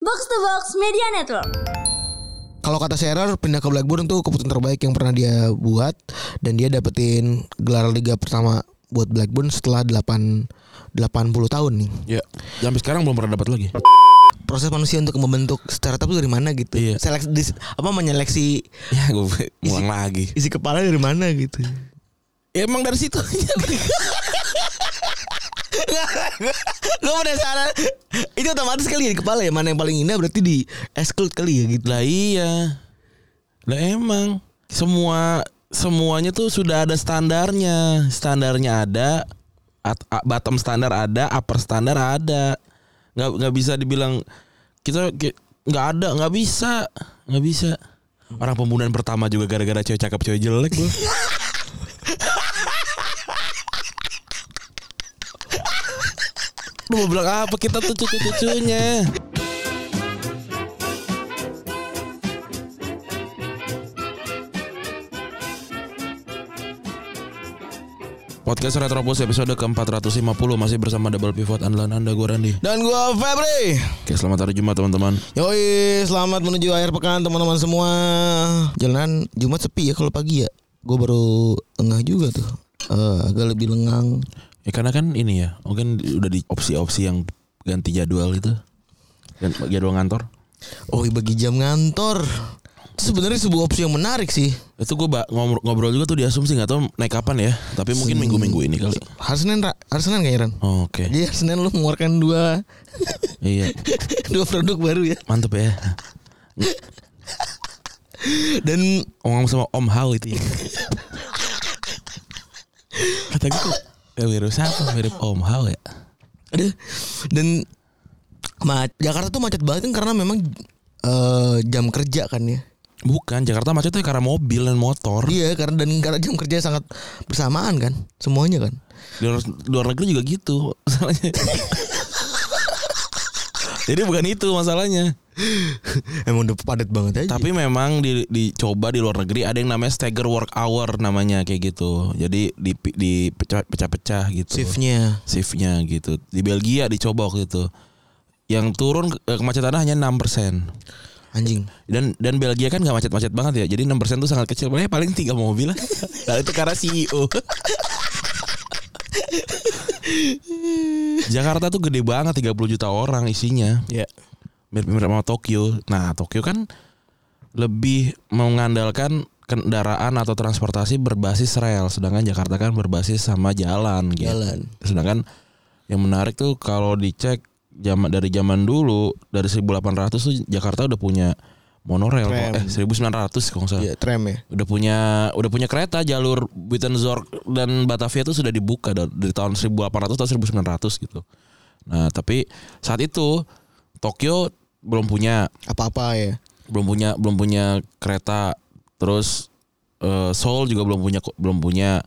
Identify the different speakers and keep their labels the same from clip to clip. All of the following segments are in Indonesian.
Speaker 1: Box to Box Media Network.
Speaker 2: Kalau kata Sherer pindah ke Blackburn tuh keputusan terbaik yang pernah dia buat dan dia dapetin gelar liga pertama buat Blackburn setelah 8 80 tahun nih.
Speaker 3: Ya. Sampai sekarang belum pernah dapat lagi.
Speaker 2: Proses manusia untuk membentuk startup tuh dari mana gitu?
Speaker 3: Iya.
Speaker 2: Seleksi dis- apa menyeleksi
Speaker 3: Ya gue ulang lagi.
Speaker 2: isi kepala dari mana gitu.
Speaker 3: Ya, emang dari situ.
Speaker 2: Gue penasaran Itu otomatis kali ya di kepala ya Mana yang paling indah berarti di exclude kali ya gitu
Speaker 3: lah iya. Lah emang semua semuanya tuh sudah ada standarnya. Standarnya ada, at- a- bottom standar ada, upper standar ada. Nggak nggak bisa dibilang kita ki- nggak ada, nggak bisa, nggak bisa. Orang pembunuhan pertama juga gara-gara cewek cakep cewek jelek loh. Lu mau bilang apa kita tuh cucu-cucunya Podcast Retropus episode ke-450 Masih bersama Double Pivot Andalan Anda gue Randy
Speaker 2: Dan gue Febri
Speaker 3: Oke selamat hari Jumat teman-teman
Speaker 2: Yoi selamat menuju akhir pekan teman-teman semua Jalanan Jumat sepi ya kalau pagi ya Gue baru tengah juga tuh Eh, Agak lebih lengang
Speaker 3: Ya karena kan ini ya Mungkin udah di opsi-opsi yang ganti jadwal itu Gan- Jadwal ngantor
Speaker 2: Oh bagi jam ngantor Itu sebenarnya sebuah opsi yang menarik sih
Speaker 3: Itu gue ngobrol juga tuh di asumsi Gak tau naik kapan ya Tapi mungkin minggu-minggu ini kali
Speaker 2: Hari Senin, Ra. hari Senin kayaknya Ran
Speaker 3: Oke
Speaker 2: Jadi hari Senin lu mengeluarkan dua
Speaker 3: Iya
Speaker 2: Dua produk baru ya
Speaker 3: Mantep ya
Speaker 2: Dan
Speaker 3: Ngomong sama Om Hao itu ya Kata gue kok ya, Virus apa mirip Om Hao ya
Speaker 2: Aduh. Dan ma Jakarta tuh macet banget kan karena memang eh, jam kerja kan ya.
Speaker 3: Bukan Jakarta macetnya karena mobil dan motor
Speaker 2: Iya karena dan karena jam kerja sangat bersamaan kan semuanya kan.
Speaker 3: di luar, luar negeri juga gitu masalahnya jadi bukan itu masalahnya
Speaker 2: Emang udah padat banget aja.
Speaker 3: tapi memang di, dicoba di luar negeri ada yang namanya stagger work hour namanya kayak gitu jadi di di pecah-pecah gitu
Speaker 2: shiftnya.
Speaker 3: shiftnya gitu di Belgia dicoba waktu itu yang turun ke- kemacetan hanya 6%
Speaker 2: anjing.
Speaker 3: dan dan Belgia kan gak macet-macet banget ya. Jadi 6% tuh sangat kecil. Paling paling 3 mobil lah. Nah, itu karena CEO. Jakarta tuh gede banget 30 juta orang isinya.
Speaker 2: Ya.
Speaker 3: Mirip-mirip sama Tokyo. Nah, Tokyo kan lebih mengandalkan kendaraan atau transportasi berbasis rel, sedangkan Jakarta kan berbasis sama jalan gitu.
Speaker 2: Jalan.
Speaker 3: Sedangkan yang menarik tuh kalau dicek zaman dari zaman dulu dari 1800 tuh Jakarta udah punya monorail
Speaker 2: Tram.
Speaker 3: kok. eh 1900 kalau nggak salah.
Speaker 2: Ya tram ya.
Speaker 3: Udah punya udah punya kereta jalur Wittenzorg dan Batavia tuh sudah dibuka dari, dari tahun 1800 atau 1900 gitu. Nah, tapi saat itu Tokyo belum punya
Speaker 2: Apa-apa ya.
Speaker 3: belum punya belum punya kereta terus eh, Seoul juga belum punya belum punya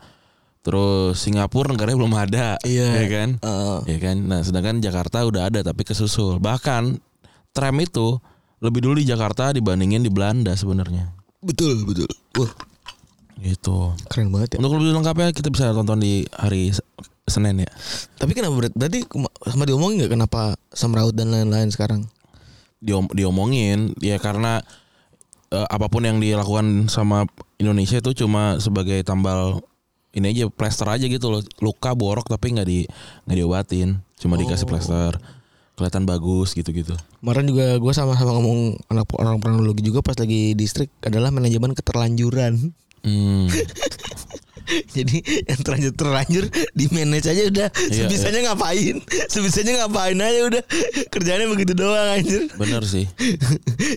Speaker 3: terus Singapura negaranya belum ada
Speaker 2: Iya.
Speaker 3: ya kan
Speaker 2: Heeh.
Speaker 3: ya kan nah sedangkan Jakarta udah ada tapi kesusul bahkan tram itu lebih dulu di Jakarta dibandingin di Belanda sebenarnya
Speaker 2: betul betul. Wah
Speaker 3: gitu
Speaker 2: keren banget ya.
Speaker 3: untuk lebih lengkapnya kita bisa tonton di hari S- Senin ya
Speaker 2: Tapi kenapa berat? Berarti kema- sama diomongin nggak kenapa semraut dan lain-lain sekarang?
Speaker 3: diom diomongin ya karena eh, apapun yang dilakukan sama Indonesia itu cuma sebagai tambal ini aja plester aja gitu loh luka borok tapi nggak di nggak diobatin cuma dikasih plester kelihatan bagus gitu gitu
Speaker 2: Kemarin juga gue sama-sama ngomong anak orang planologi juga pas lagi distrik adalah manajemen keterlanjuran.
Speaker 3: hmm.
Speaker 2: Jadi yang terlanjur terlanjur di manage aja udah
Speaker 3: Iya,
Speaker 2: sebisanya ngapain, sebisanya ngapain aja udah kerjanya begitu doang anjir.
Speaker 3: bener sih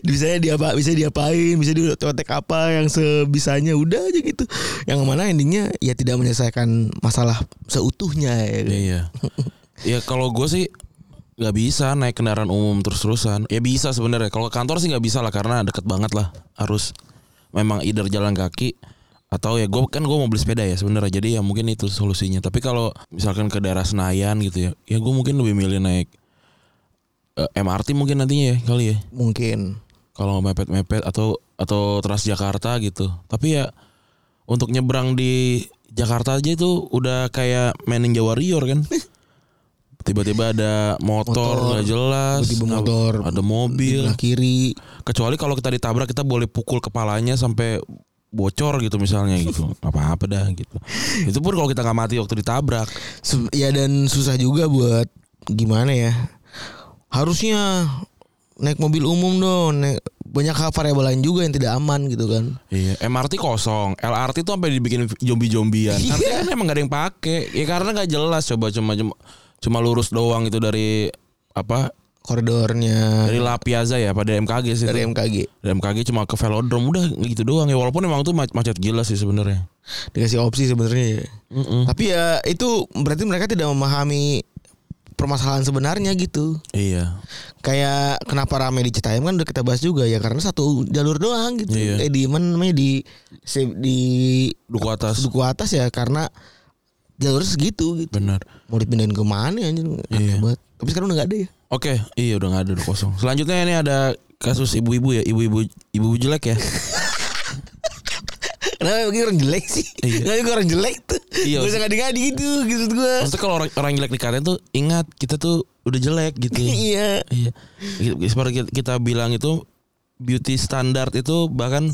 Speaker 2: Bisanya diapa bisa diapain, bisa diotek apa yang sebisanya udah aja gitu. Yang mana endingnya ya tidak menyelesaikan masalah seutuhnya ya.
Speaker 3: Iya, iya. ya kalau gue sih nggak bisa naik kendaraan umum terus-terusan. Ya bisa sebenarnya. Kalau kantor sih nggak bisa lah karena deket banget lah. Harus memang either jalan kaki atau ya gue kan gue mau beli sepeda ya sebenarnya. Jadi ya mungkin itu solusinya. Tapi kalau misalkan ke daerah Senayan gitu ya, ya gue mungkin lebih milih naik eh, MRT mungkin nantinya ya kali ya.
Speaker 2: Mungkin
Speaker 3: Kalau mepet-mepet atau atau Transjakarta gitu. Tapi ya untuk nyebrang di Jakarta aja itu udah kayak mainin Jawa Rior kan. tiba-tiba ada motor,
Speaker 2: Motor.
Speaker 3: nggak jelas
Speaker 2: Tiba-tiba motor. di
Speaker 3: ada mobil
Speaker 2: belah kiri
Speaker 3: kecuali kalau kita ditabrak kita boleh pukul kepalanya sampai bocor gitu misalnya gitu Nggak apa-apa dah gitu itu pun kalau kita nggak mati waktu ditabrak
Speaker 2: Se- ya dan susah juga buat gimana ya harusnya naik mobil umum dong naik, banyak hal variabel lain juga yang tidak aman gitu kan
Speaker 3: Iya, MRT kosong, LRT tuh sampai dibikin zombie-zombian.
Speaker 2: Iya.
Speaker 3: Artinya kan emang gak ada yang pakai. Ya karena nggak jelas coba cuma cuma cuma lurus doang itu dari apa?
Speaker 2: koridornya
Speaker 3: Dari La Piazza ya pada MKG sih.
Speaker 2: dari
Speaker 3: Dari,
Speaker 2: MKG
Speaker 3: dari MKG cuma ke Velodrome udah gitu doang ya walaupun emang tuh mac- macet gila sih sebenarnya.
Speaker 2: dikasih opsi sebenarnya ya.
Speaker 3: Mm-mm.
Speaker 2: tapi ya itu berarti mereka tidak memahami permasalahan sebenarnya gitu
Speaker 3: Iya.
Speaker 2: kayak kenapa rame di Citayam kan udah kita bahas juga ya karena satu jalur doang gitu
Speaker 3: Iya.
Speaker 2: eh di mana namanya di se- di
Speaker 3: Duku atas.
Speaker 2: duku atas ya karena jalur segitu gitu
Speaker 3: Benar.
Speaker 2: mau dipindahin ke mana ya anjir
Speaker 3: Iya.
Speaker 2: Aneh banget. tapi sekarang udah gak ada ya
Speaker 3: Oke, iya udah nggak ada udah kosong. Selanjutnya ini ada kasus ibu-ibu ya, ibu-ibu ibu-ibu jelek ya.
Speaker 2: kenapa emang orang jelek sih
Speaker 3: Iya.
Speaker 2: nggak juga orang jelek tuh
Speaker 3: Iya,
Speaker 2: gak
Speaker 3: maksud-
Speaker 2: usah ngadi-ngadi gitu gitu gue
Speaker 3: Maksudnya kalau orang, orang jelek dikatain tuh ingat kita tuh udah jelek gitu.
Speaker 2: iya
Speaker 3: Iya. Gitu- Seperti kita- kita bilang itu beauty standar itu bahkan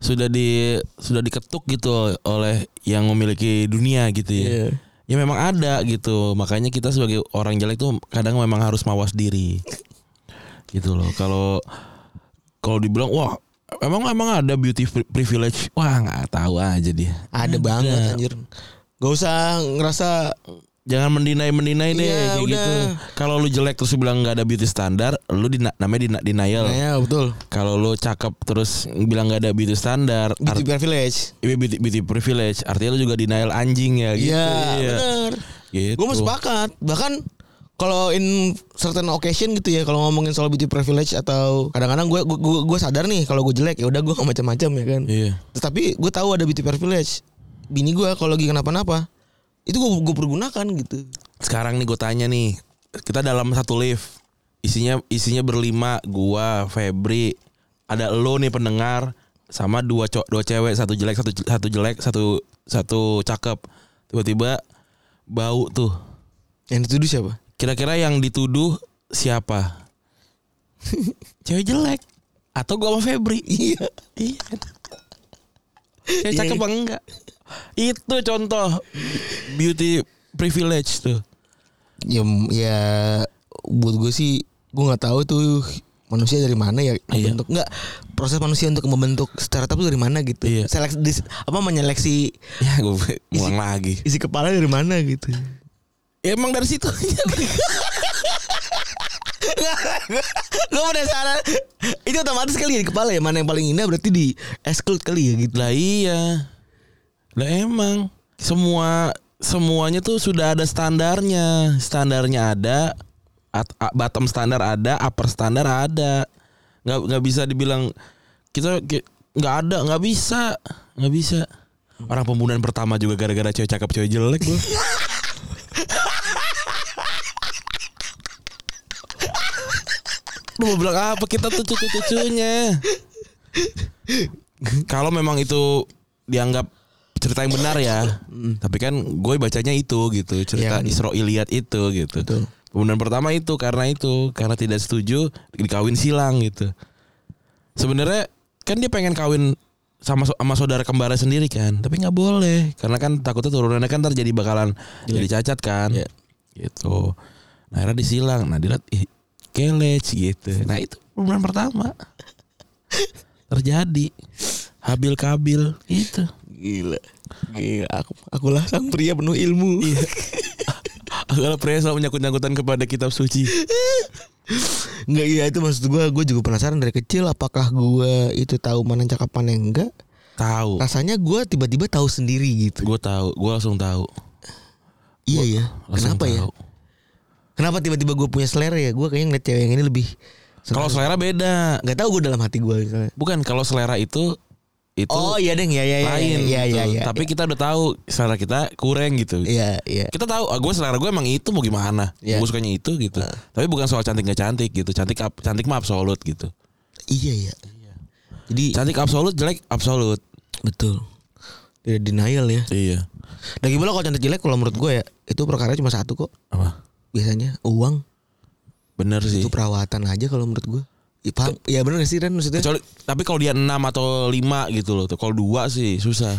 Speaker 3: sudah di sudah diketuk gitu oleh yang memiliki dunia gitu ya.
Speaker 2: Iya.
Speaker 3: Ya memang ada gitu. Makanya kita sebagai orang jelek tuh kadang memang harus mawas diri. Gitu loh. Kalau kalau dibilang wah emang emang ada beauty pri- privilege. Wah, nggak tahu aja dia.
Speaker 2: ada banget anjir gak usah ngerasa
Speaker 3: Jangan mendinai-mendinai deh
Speaker 2: Iya,
Speaker 3: kayak
Speaker 2: udah.
Speaker 3: gitu. Kalau lu jelek terus lu bilang nggak ada beauty standar, lu dina- namanya dina- denial.
Speaker 2: nah, ya betul
Speaker 3: kalau lo cakep terus bilang nggak ada beauty standar
Speaker 2: beauty
Speaker 3: beauty,
Speaker 2: Gitu, privilege
Speaker 3: beauty, beauty privilege artinya lo juga denial anjing ya gitu
Speaker 2: Iya
Speaker 3: iya.
Speaker 2: bener
Speaker 3: gitu.
Speaker 2: Gue masih sepakat Bahkan kalau in certain occasion gitu ya kalau ngomongin soal beauty privilege atau kadang-kadang gue gue gue sadar nih kalau gue jelek ya udah gue nggak macam-macam ya kan
Speaker 3: iya
Speaker 2: tetapi gue tahu ada beauty privilege bini gue kalau lagi kenapa-napa itu gue gue pergunakan gitu
Speaker 3: sekarang nih gue tanya nih kita dalam satu lift isinya isinya berlima gua Febri ada lo nih pendengar sama dua co- dua cewek satu jelek satu je- satu jelek satu satu cakep tiba-tiba bau tuh
Speaker 2: yang dituduh siapa
Speaker 3: kira-kira yang dituduh siapa cewek jelek atau gua sama Febri
Speaker 2: iya
Speaker 3: Iya. Kayak cakep apa enggak? Itu contoh beauty privilege tuh.
Speaker 2: ya ya buat gue sih gue nggak tahu tuh manusia dari mana ya
Speaker 3: Iya.
Speaker 2: membentuk nggak proses manusia untuk membentuk secara tetap itu dari mana gitu
Speaker 3: Iya.
Speaker 2: seleksi dis- apa menyeleksi
Speaker 3: Ya gue ulang lagi.
Speaker 2: isi kepala dari mana gitu
Speaker 3: emang dari situ.
Speaker 2: gue penasaran itu otomatis kali ya di kepala ya mana yang paling indah berarti di exclude kali ya gitu
Speaker 3: lah iya. Lah emang semua semuanya tuh sudah ada standarnya. Standarnya ada, at- a- bottom standar ada, upper standar ada. Nggak nggak bisa dibilang kita ki- nggak ada, nggak bisa, nggak bisa. Orang pembunuhan pertama juga gara-gara cewek cakep cewek jelek gua. Lu mau bilang apa kita tuh cucu-cucunya Kalau memang itu dianggap cerita yang benar ya Tapi kan gue bacanya itu gitu Cerita
Speaker 2: Iya kan.
Speaker 3: Isra Iliad itu gitu
Speaker 2: Betul.
Speaker 3: Kemudian pertama itu karena itu Karena tidak setuju dikawin silang gitu Sebenarnya kan dia pengen kawin sama sama saudara kembarnya sendiri kan tapi nggak boleh karena kan takutnya turunannya kan ntar jadi bakalan jadi cacat kan
Speaker 2: Iya.
Speaker 3: gitu nah akhirnya disilang nah dilihat ih kelec gitu nah itu bulan pertama terjadi habil kabil gitu
Speaker 2: Gila. Gila. Aku, akulah sang pria penuh ilmu.
Speaker 3: Agaklah pria selalu menyangkut-nyangkutan kepada kitab suci
Speaker 2: Enggak iya itu maksud gua Gue juga penasaran dari kecil apakah gua itu tahu mana yang cakep mana yang enggak.
Speaker 3: tahu
Speaker 2: Rasanya gua tiba-tiba tahu sendiri gitu.
Speaker 3: gue tahu gue langsung tahu
Speaker 2: Iya ya.
Speaker 3: Langsung
Speaker 2: Kenapa ya?
Speaker 3: tahu.
Speaker 2: Kenapa tiba-tiba gua punya selera ya? Gua kayaknya ngeliat cewek yang ini lebih.
Speaker 3: kalau selera beda
Speaker 2: nggak tahu gua dalam hati gua misalnya.
Speaker 3: bukan kalau selera itu itu
Speaker 2: Oh iya deng ya ya ya.
Speaker 3: lain
Speaker 2: ya,
Speaker 3: gitu.
Speaker 2: ya, ya,
Speaker 3: tapi kita udah tahu selera kita kurang gitu
Speaker 2: Iya iya.
Speaker 3: kita tahu ah, gue selera gue emang itu mau gimana
Speaker 2: Iya.
Speaker 3: gue sukanya itu gitu tapi bukan soal cantik nggak cantik gitu cantik ap- cantik mah absolut gitu
Speaker 2: Iya iya. Jadi
Speaker 3: cantik absolut jelek absolut
Speaker 2: betul. Tidak denial ya.
Speaker 3: iya
Speaker 2: Lagi pula kalau cantik jelek kalau menurut gua ya itu perkara cuma satu kok.
Speaker 3: apa
Speaker 2: biasanya uang
Speaker 3: Bener sih.
Speaker 2: itu perawatan aja kalau menurut gue. Ya, paham? ya bener gak sih Ren maksudnya?
Speaker 3: Kecuali tapi kalau dia 6 atau 5 gitu loh tuh. Kalau 2 sih susah.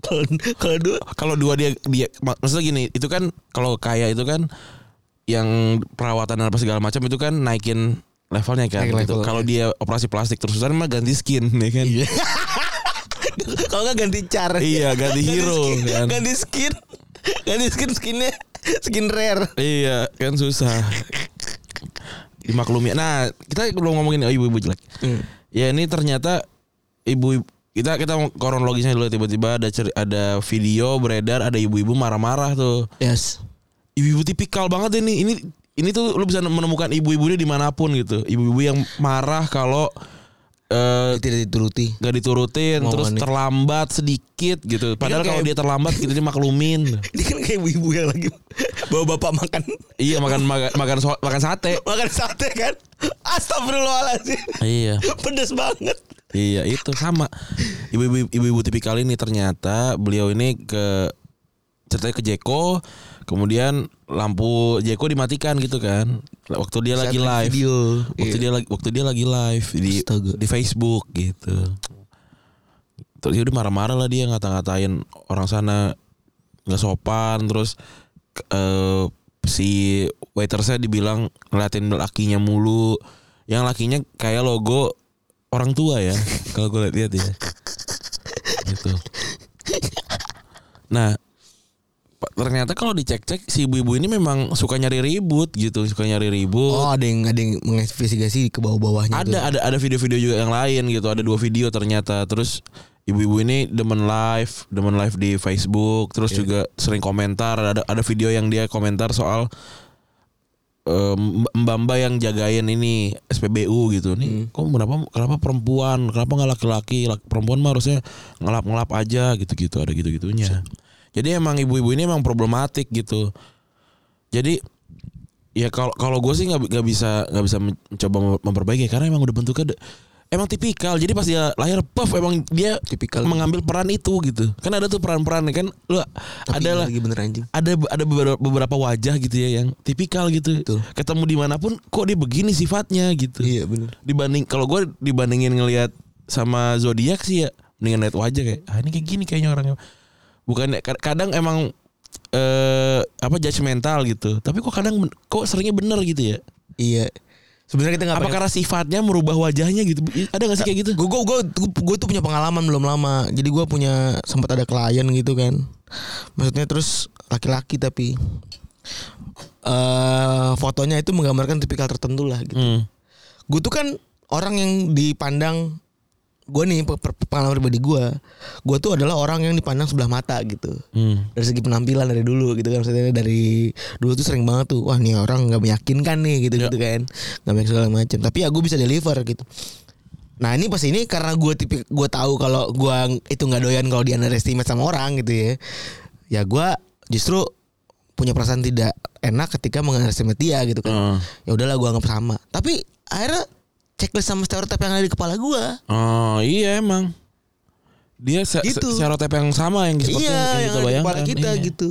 Speaker 2: Kalau kalau dua
Speaker 3: Kalau 2 dia dia mak- maksudnya gini, itu kan kalau kaya itu kan yang perawatan dan apa segala macam itu kan naikin levelnya kan.
Speaker 2: Naik
Speaker 3: gitu.
Speaker 2: level,
Speaker 3: Kalau dia operasi plastik terus terusan mah ganti skin ya kan. Iya,
Speaker 2: kalau nggak ganti cara.
Speaker 3: ganti hero
Speaker 2: skin,
Speaker 3: kan.
Speaker 2: ganti skin, ganti skin skinnya skin rare.
Speaker 3: Iya, kan susah. Dimaklumi. Nah, kita belum ngomongin oh, ibu-ibu jelek.
Speaker 2: Hmm.
Speaker 3: Ya ini ternyata ibu kita kita mau kronologisnya dulu tiba-tiba ada cer- ada video beredar ada ibu-ibu marah-marah tuh.
Speaker 2: Yes.
Speaker 3: Ibu-ibu tipikal banget ini. Ini ini tuh lu bisa menemukan ibu-ibunya dimanapun gitu. Ibu-ibu yang marah kalau eh
Speaker 2: Tidak dituruti.
Speaker 3: gak diturutin
Speaker 2: Mau
Speaker 3: terus
Speaker 2: nih.
Speaker 3: terlambat sedikit gitu. Padahal
Speaker 2: kayak-
Speaker 3: kalau dia terlambat kita dimaklumin.
Speaker 2: Ini kan kayak ibu-ibu yang lagi bawa bapak makan
Speaker 3: iya makan makan makan, so- makan sate.
Speaker 2: makan sate kan. Astagfirullahaladzim.
Speaker 3: Iya.
Speaker 2: Pedes banget.
Speaker 3: Iya itu sama ibu-ibu ibu-ibu tipikal ini ternyata beliau ini ke ceritanya ke Jeko kemudian lampu Jeko dimatikan gitu kan waktu dia lagi
Speaker 2: Saat
Speaker 3: live
Speaker 2: Video.
Speaker 3: waktu
Speaker 2: Iya.
Speaker 3: dia lagi waktu dia lagi live di
Speaker 2: Astaga.
Speaker 3: di Facebook gitu terus dia udah marah-marah lah dia ngata-ngatain orang sana nggak sopan terus k- eh, si waitersnya dibilang ngeliatin lakinya mulu yang lakinya kayak logo orang tua ya kalau gue lihat ya gitu nah pa- ternyata kalau dicek-cek si ibu-ibu ini memang suka nyari ribut gitu suka nyari ribut
Speaker 2: Oh ada yang ada yang menginvestigasi ke bawah-bawahnya.
Speaker 3: ada ada ada video-video juga yang lain gitu ada dua video ternyata terus ibu-ibu ini demen live demen live di Facebook terus juga sering komentar ada ada video yang dia komentar soal eh, mba- mbak-mbak yang jagain ini SPBU gitu nih kok kenapa kenapa perempuan kenapa nggak laki-laki Laki- perempuan mah harusnya ngelap-ngelap aja gitu-gitu ada gitu-gitunya jadi emang ibu-ibu ini emang problematik gitu jadi ya kalau kalau gue sih nggak nggak bisa nggak bisa mencoba memperbaiki ya, karena emang udah bentuknya de- emang tipikal jadi pas dia lahir puff emang dia
Speaker 2: Tipikal.
Speaker 3: mengambil peran itu gitu kan ada tuh peran-peran kan lu
Speaker 2: Tapi iya.
Speaker 3: adalah
Speaker 2: lagi bener anjing.
Speaker 3: ada ada beberapa, beberapa wajah gitu ya yang tipikal gitu
Speaker 2: Betul.
Speaker 3: ketemu dimanapun kok dia begini sifatnya gitu
Speaker 2: Iya bener.
Speaker 3: dibanding kalau gue dibandingin ngelihat sama zodiak sih ya mendingan lihat wajah kayak ah ini kayak gini kayaknya orangnya bukan kad- kadang emang eh apa judgmental gitu tapi kok kadang ben- kok seringnya bener gitu ya
Speaker 2: Iya. Sebenarnya kita nggak
Speaker 3: apa karena sifatnya merubah wajahnya gitu ada gak sih kayak gitu
Speaker 2: gue gue gue gue tuh punya pengalaman belum lama jadi gue punya sempat ada klien gitu kan maksudnya terus laki-laki tapi eh fotonya itu menggambarkan tipikal tertentu lah gitu
Speaker 3: hmm.
Speaker 2: gue tuh kan orang yang dipandang gue nih pe- pe- pengalaman pribadi gue gue tuh adalah orang yang dipandang sebelah mata gitu
Speaker 3: Hmm.
Speaker 2: dari segi penampilan dari dulu gitu kan maksudnya dari dulu tuh sering banget tuh wah nih orang nggak meyakinkan nih gitu gitu kan nggak banyak segala macam tapi ya gue bisa deliver gitu nah ini pas ini karena gue tipik gue tahu kalau gue itu nggak doyan kalau di underestimate sama orang gitu ya ya gue justru punya perasaan tidak enak ketika mengunderestimate dia gitu kan
Speaker 3: Heeh.
Speaker 2: ya udahlah gue anggap sama tapi akhirnya checklist sama stereotip yang ada di kepala gue
Speaker 3: oh iya emang dia se se-
Speaker 2: Gitu.
Speaker 3: stereotip yang sama yang seperti
Speaker 2: iya, yang ada
Speaker 3: yang kita
Speaker 2: di
Speaker 3: bayangkan
Speaker 2: kepala kita
Speaker 3: Iya.
Speaker 2: gitu.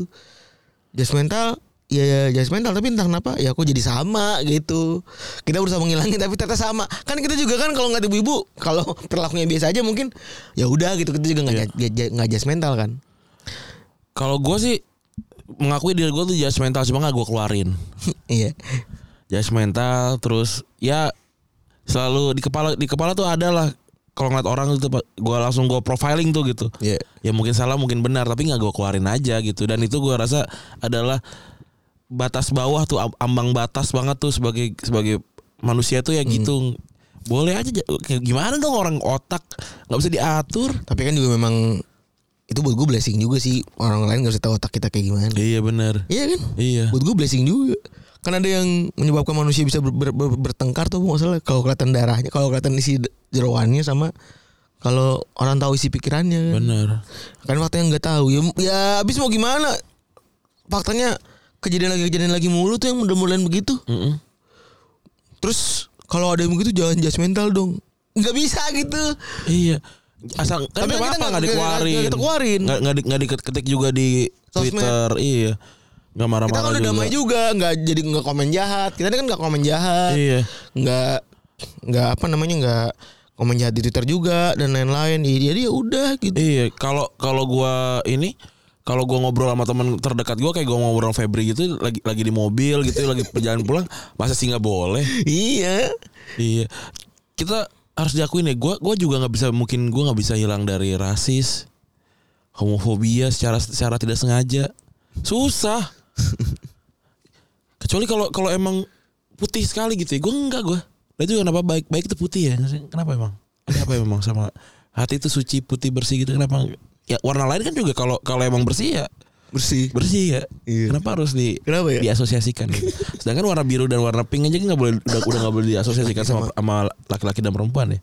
Speaker 2: Jas mental, ya, ya jas mental tapi entah kenapa ya aku jadi sama gitu. Kita berusaha menghilangi tapi ternyata sama. Kan kita juga kan kalau nggak ada ibu-ibu, kalau perilakunya biasa aja mungkin ya udah gitu kita juga
Speaker 3: Iya.
Speaker 2: nggak ja- ja- nggak jas mental kan.
Speaker 3: kalau gue sih mengakui diri gue tuh judgmental cuma gak gue keluarin
Speaker 2: iya.
Speaker 3: judgmental terus ya selalu di kepala di kepala tuh ada lah kalau ngeliat orang itu gue langsung gue profiling tuh gitu
Speaker 2: Iya.
Speaker 3: ya mungkin salah mungkin benar tapi nggak gue keluarin aja gitu dan itu gue rasa adalah batas bawah tuh am- ambang batas banget tuh sebagai sebagai manusia tuh ya gitu boleh aja ja- kayak gimana dong orang otak nggak bisa diatur
Speaker 2: Tapi kan juga memang itu buat gue blessing juga sih orang lain nggak bisa tahu otak kita kayak gimana.
Speaker 3: iya benar
Speaker 2: Iya kan?
Speaker 3: iya
Speaker 2: Buat gue blessing juga. Kan ada yang menyebabkan manusia bisa ber- ber- ber- bertengkar tuh nggak salah kalau kelihatan darahnya, kalau kelihatan isi d- jeroannya sama kalau orang tahu isi pikirannya
Speaker 3: Iya.
Speaker 2: kan.
Speaker 3: benar
Speaker 2: Kan faktanya nggak tahu. Ya, ya abis mau gimana? Faktanya kejadian lagi kejadian lagi mulu tuh yang udah mulai begitu.
Speaker 3: Mm-mm.
Speaker 2: Terus kalau ada yang begitu jangan judgmental dong. Nggak bisa gitu.
Speaker 3: Iya. Asal kan
Speaker 2: Tapi kita nggak-
Speaker 3: apa apa nggak
Speaker 2: nggak-
Speaker 3: dikeluarin.
Speaker 2: nggak dikeluarin.
Speaker 3: Nggak nggak di- nggak diketik juga di
Speaker 2: Sosmed.
Speaker 3: Twitter. Iya. nggak
Speaker 2: Kita kan
Speaker 3: marah-marah
Speaker 2: udah
Speaker 3: juga.
Speaker 2: damai juga, nggak jadi nggak komen jahat. Kita ini kan nggak komen jahat.
Speaker 3: Iya.
Speaker 2: nggak nggak apa namanya nggak komen jahat di Twitter juga dan lain-lain. Jadi jadi ya udah gitu.
Speaker 3: Iya, kalau kalau gua ini kalau gua ngobrol sama teman terdekat gua kayak gua ngobrol sama Febri gitu lagi lagi di mobil gitu lagi perjalanan pulang masa sih nggak boleh
Speaker 2: Iya.
Speaker 3: Iya. Kita harus diakuin ya. Gua gua juga nggak bisa mungkin gua nggak bisa hilang dari rasis, homofobia secara secara tidak sengaja. Susah. Kecuali kalau kalau emang putih sekali gitu ya. Gua enggak gua. Dan juga kenapa baik baik itu putih ya? Kenapa emang? Kenapa emang sama hati itu suci putih bersih gitu kenapa? Ya warna lain kan juga kalau kalau emang bersih ya
Speaker 2: Bersih.
Speaker 3: bersih ya.
Speaker 2: Iya.
Speaker 3: Kenapa harus di
Speaker 2: Kenapa ya?
Speaker 3: diasosiasikan? gitu. Sedangkan warna biru dan warna pink aja kan nggak boleh udah udah nggak boleh diasosiasikan sama sama laki-laki dan perempuan ya.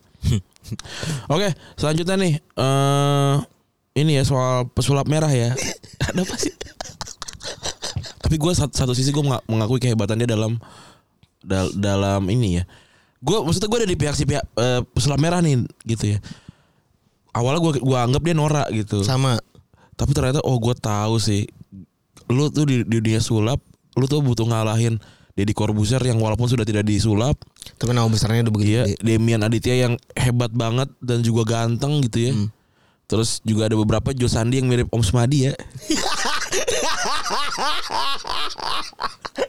Speaker 3: Oke, selanjutnya nih eh ini ya soal pesulap merah ya. Ada apa sih? Tapi gue satu, satu sisi gue mengakui kehebatan dia dalam dal- dalam ini ya. Gue maksudnya gue ada di pihak si pihak eh, pesulap merah nih gitu ya. Awalnya gue gua anggap dia norak gitu
Speaker 2: Sama.
Speaker 3: tapi ternyata oh gue tahu sih lu tuh di, di dunia sulap lu tuh butuh ngalahin Deddy Corbuzier yang walaupun sudah tidak disulap
Speaker 2: Tapi nama besarnya udah begitu.
Speaker 3: iya
Speaker 2: gede.
Speaker 3: Demian Aditya yang hebat banget dan juga ganteng gitu ya terus juga ada beberapa Jo Sandi yang mirip Om Sumadi ya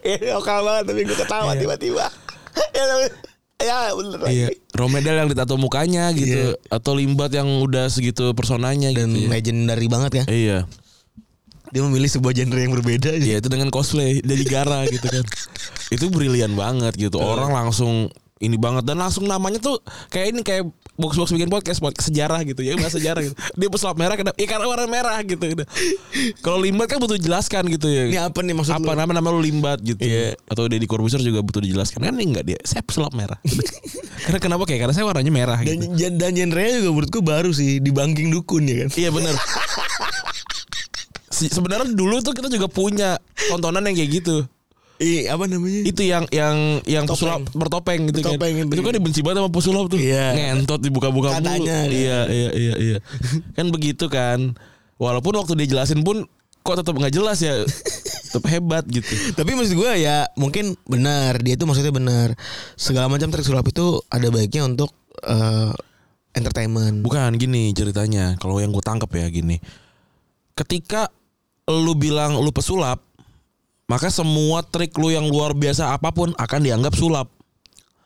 Speaker 2: Ini lokal banget Ya, tapi gue ketawa tiba-tiba. ya, tapi- ya bener.
Speaker 3: iya Romedel yang ditato mukanya gitu atau Limbat yang udah segitu personanya
Speaker 2: Dan
Speaker 3: gitu ya.
Speaker 2: legendary banget ya.
Speaker 3: iya
Speaker 2: Dia memilih sebuah genre yang berbeda aja.
Speaker 3: Iya itu dengan cosplay dari Gara gitu kan. itu brilian banget gitu. Orang langsung ini banget dan langsung namanya tuh kayak ini kayak box box bikin podcast podcast sejarah gitu ya bahasa sejarah gitu. Dia pesulap merah kenapa? Ya karena warna merah gitu. Kalau limbat kan butuh jelaskan gitu ya.
Speaker 2: Ini apa nih Iya, maksud
Speaker 3: apa
Speaker 2: lu?
Speaker 3: nama nama lu limbat gitu
Speaker 2: Iya.
Speaker 3: atau Deddy Corbuzier juga butuh dijelaskan kan ini enggak dia saya pesulap merah gitu. karena kenapa kayak karena saya warnanya merah
Speaker 2: Dan,
Speaker 3: gitu
Speaker 2: dan genre-nya juga menurutku baru sih di banking dukun ya kan.
Speaker 3: iya benar Se- sebenarnya dulu tuh kita juga punya tontonan yang kayak gitu
Speaker 2: Iya, apa namanya?
Speaker 3: itu yang yang yang
Speaker 2: Topeng.
Speaker 3: pesulap bertopeng gitu
Speaker 2: Bertopeng
Speaker 3: kan.
Speaker 2: itu,
Speaker 3: Itu kan
Speaker 2: iya.
Speaker 3: dibenci banget sama pesulap tuh.
Speaker 2: Iya.
Speaker 3: Ngentot dibuka-buka mulu.
Speaker 2: Katanya, kan.
Speaker 3: Iya, iya, iya, iya. kan begitu kan. Walaupun waktu dia jelasin pun kok tetap nggak jelas ya. tetap hebat gitu.
Speaker 2: Tapi maksud gue ya mungkin benar dia itu maksudnya benar segala macam trik sulap itu ada baiknya untuk eh, entertainment.
Speaker 3: Bukan gini ceritanya. Kalau yang gue tangkap ya gini. Ketika lu bilang lu pesulap, maka semua trik lu yang luar biasa apapun akan dianggap sulap.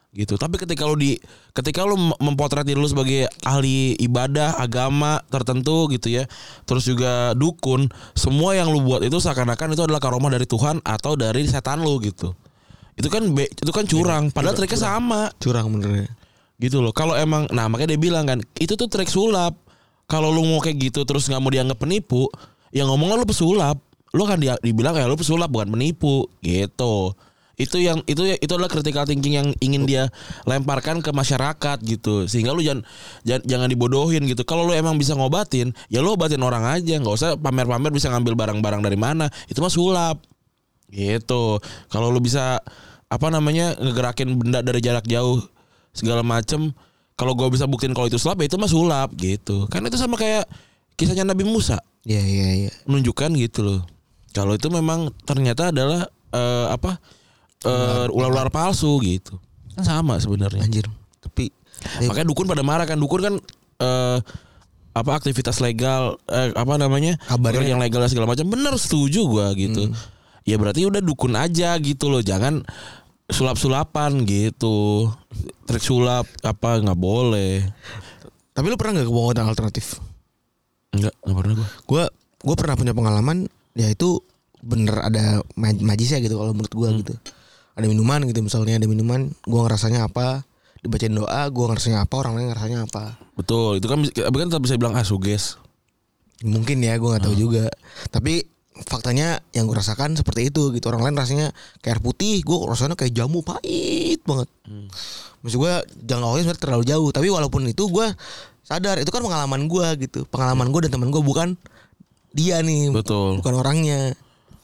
Speaker 3: Gitu. Tapi ketika lu di ketika lu mem- mempotret diri lu sebagai ahli ibadah, agama tertentu gitu ya. Terus juga dukun, semua yang lu buat itu seakan-akan itu adalah karomah dari Tuhan atau dari setan lu gitu. Itu kan be- itu kan curang, padahal triknya sama
Speaker 2: Curang bener.
Speaker 3: gitu loh kalau emang nah makanya dia bilang kan itu tuh trik sulap kalau lu mau kayak gitu terus nggak mau dianggap penipu yang ngomongnya lu pesulap lu kan dia dibilang kayak lu pesulap bukan penipu gitu itu yang itu itu adalah critical thinking yang ingin dia lemparkan ke masyarakat gitu sehingga lu jangan jangan, jangan dibodohin gitu kalau lu emang bisa ngobatin ya lu obatin orang aja nggak usah pamer-pamer bisa ngambil barang-barang dari mana itu mah sulap gitu kalau lu bisa apa namanya ngegerakin benda dari jarak jauh segala macem kalau gua bisa buktiin kalau itu sulap ya itu mah sulap gitu kan itu sama kayak kisahnya Nabi Musa
Speaker 2: Iya iya iya.
Speaker 3: menunjukkan gitu loh kalau itu memang ternyata adalah eh, apa eh, ular-ular palsu gitu kan sama sebenarnya
Speaker 2: Anjir. Tapi eh,
Speaker 3: makanya dukun pada marah kan dukun kan eh, apa aktivitas legal eh, apa namanya
Speaker 2: Kabarnya.
Speaker 3: yang legal dan segala macam bener setuju gua gitu ya berarti udah dukun aja gitu loh jangan sulap sulapan gitu trik sulap apa nggak boleh
Speaker 2: tapi lu pernah nggak ke Bogor alternatif?
Speaker 3: nggak nggak pernah gua
Speaker 2: Gue gue pernah punya pengalaman ya itu bener ada ma- majisnya gitu kalau menurut gue gitu. Ada minuman gitu misalnya ada minuman gue ngerasanya apa dibacain doa gue ngerasanya apa orang lain ngerasanya apa
Speaker 3: betul itu kan bisa- kan tetap bisa bilang ah suges
Speaker 2: Mungkin ya gue nggak tahu juga. Tapi faktanya yang gue rasakan seperti itu gitu. Orang lain rasanya kayak air putih, gue rasanya kayak jamu pahit banget. Maksud gue jangkauannya sebenarnya terlalu jauh. Tapi walaupun itu gue sadar itu kan pengalaman gue gitu. Pengalaman gue dan teman gue bukan dia nih,
Speaker 3: Betul.
Speaker 2: bukan orangnya.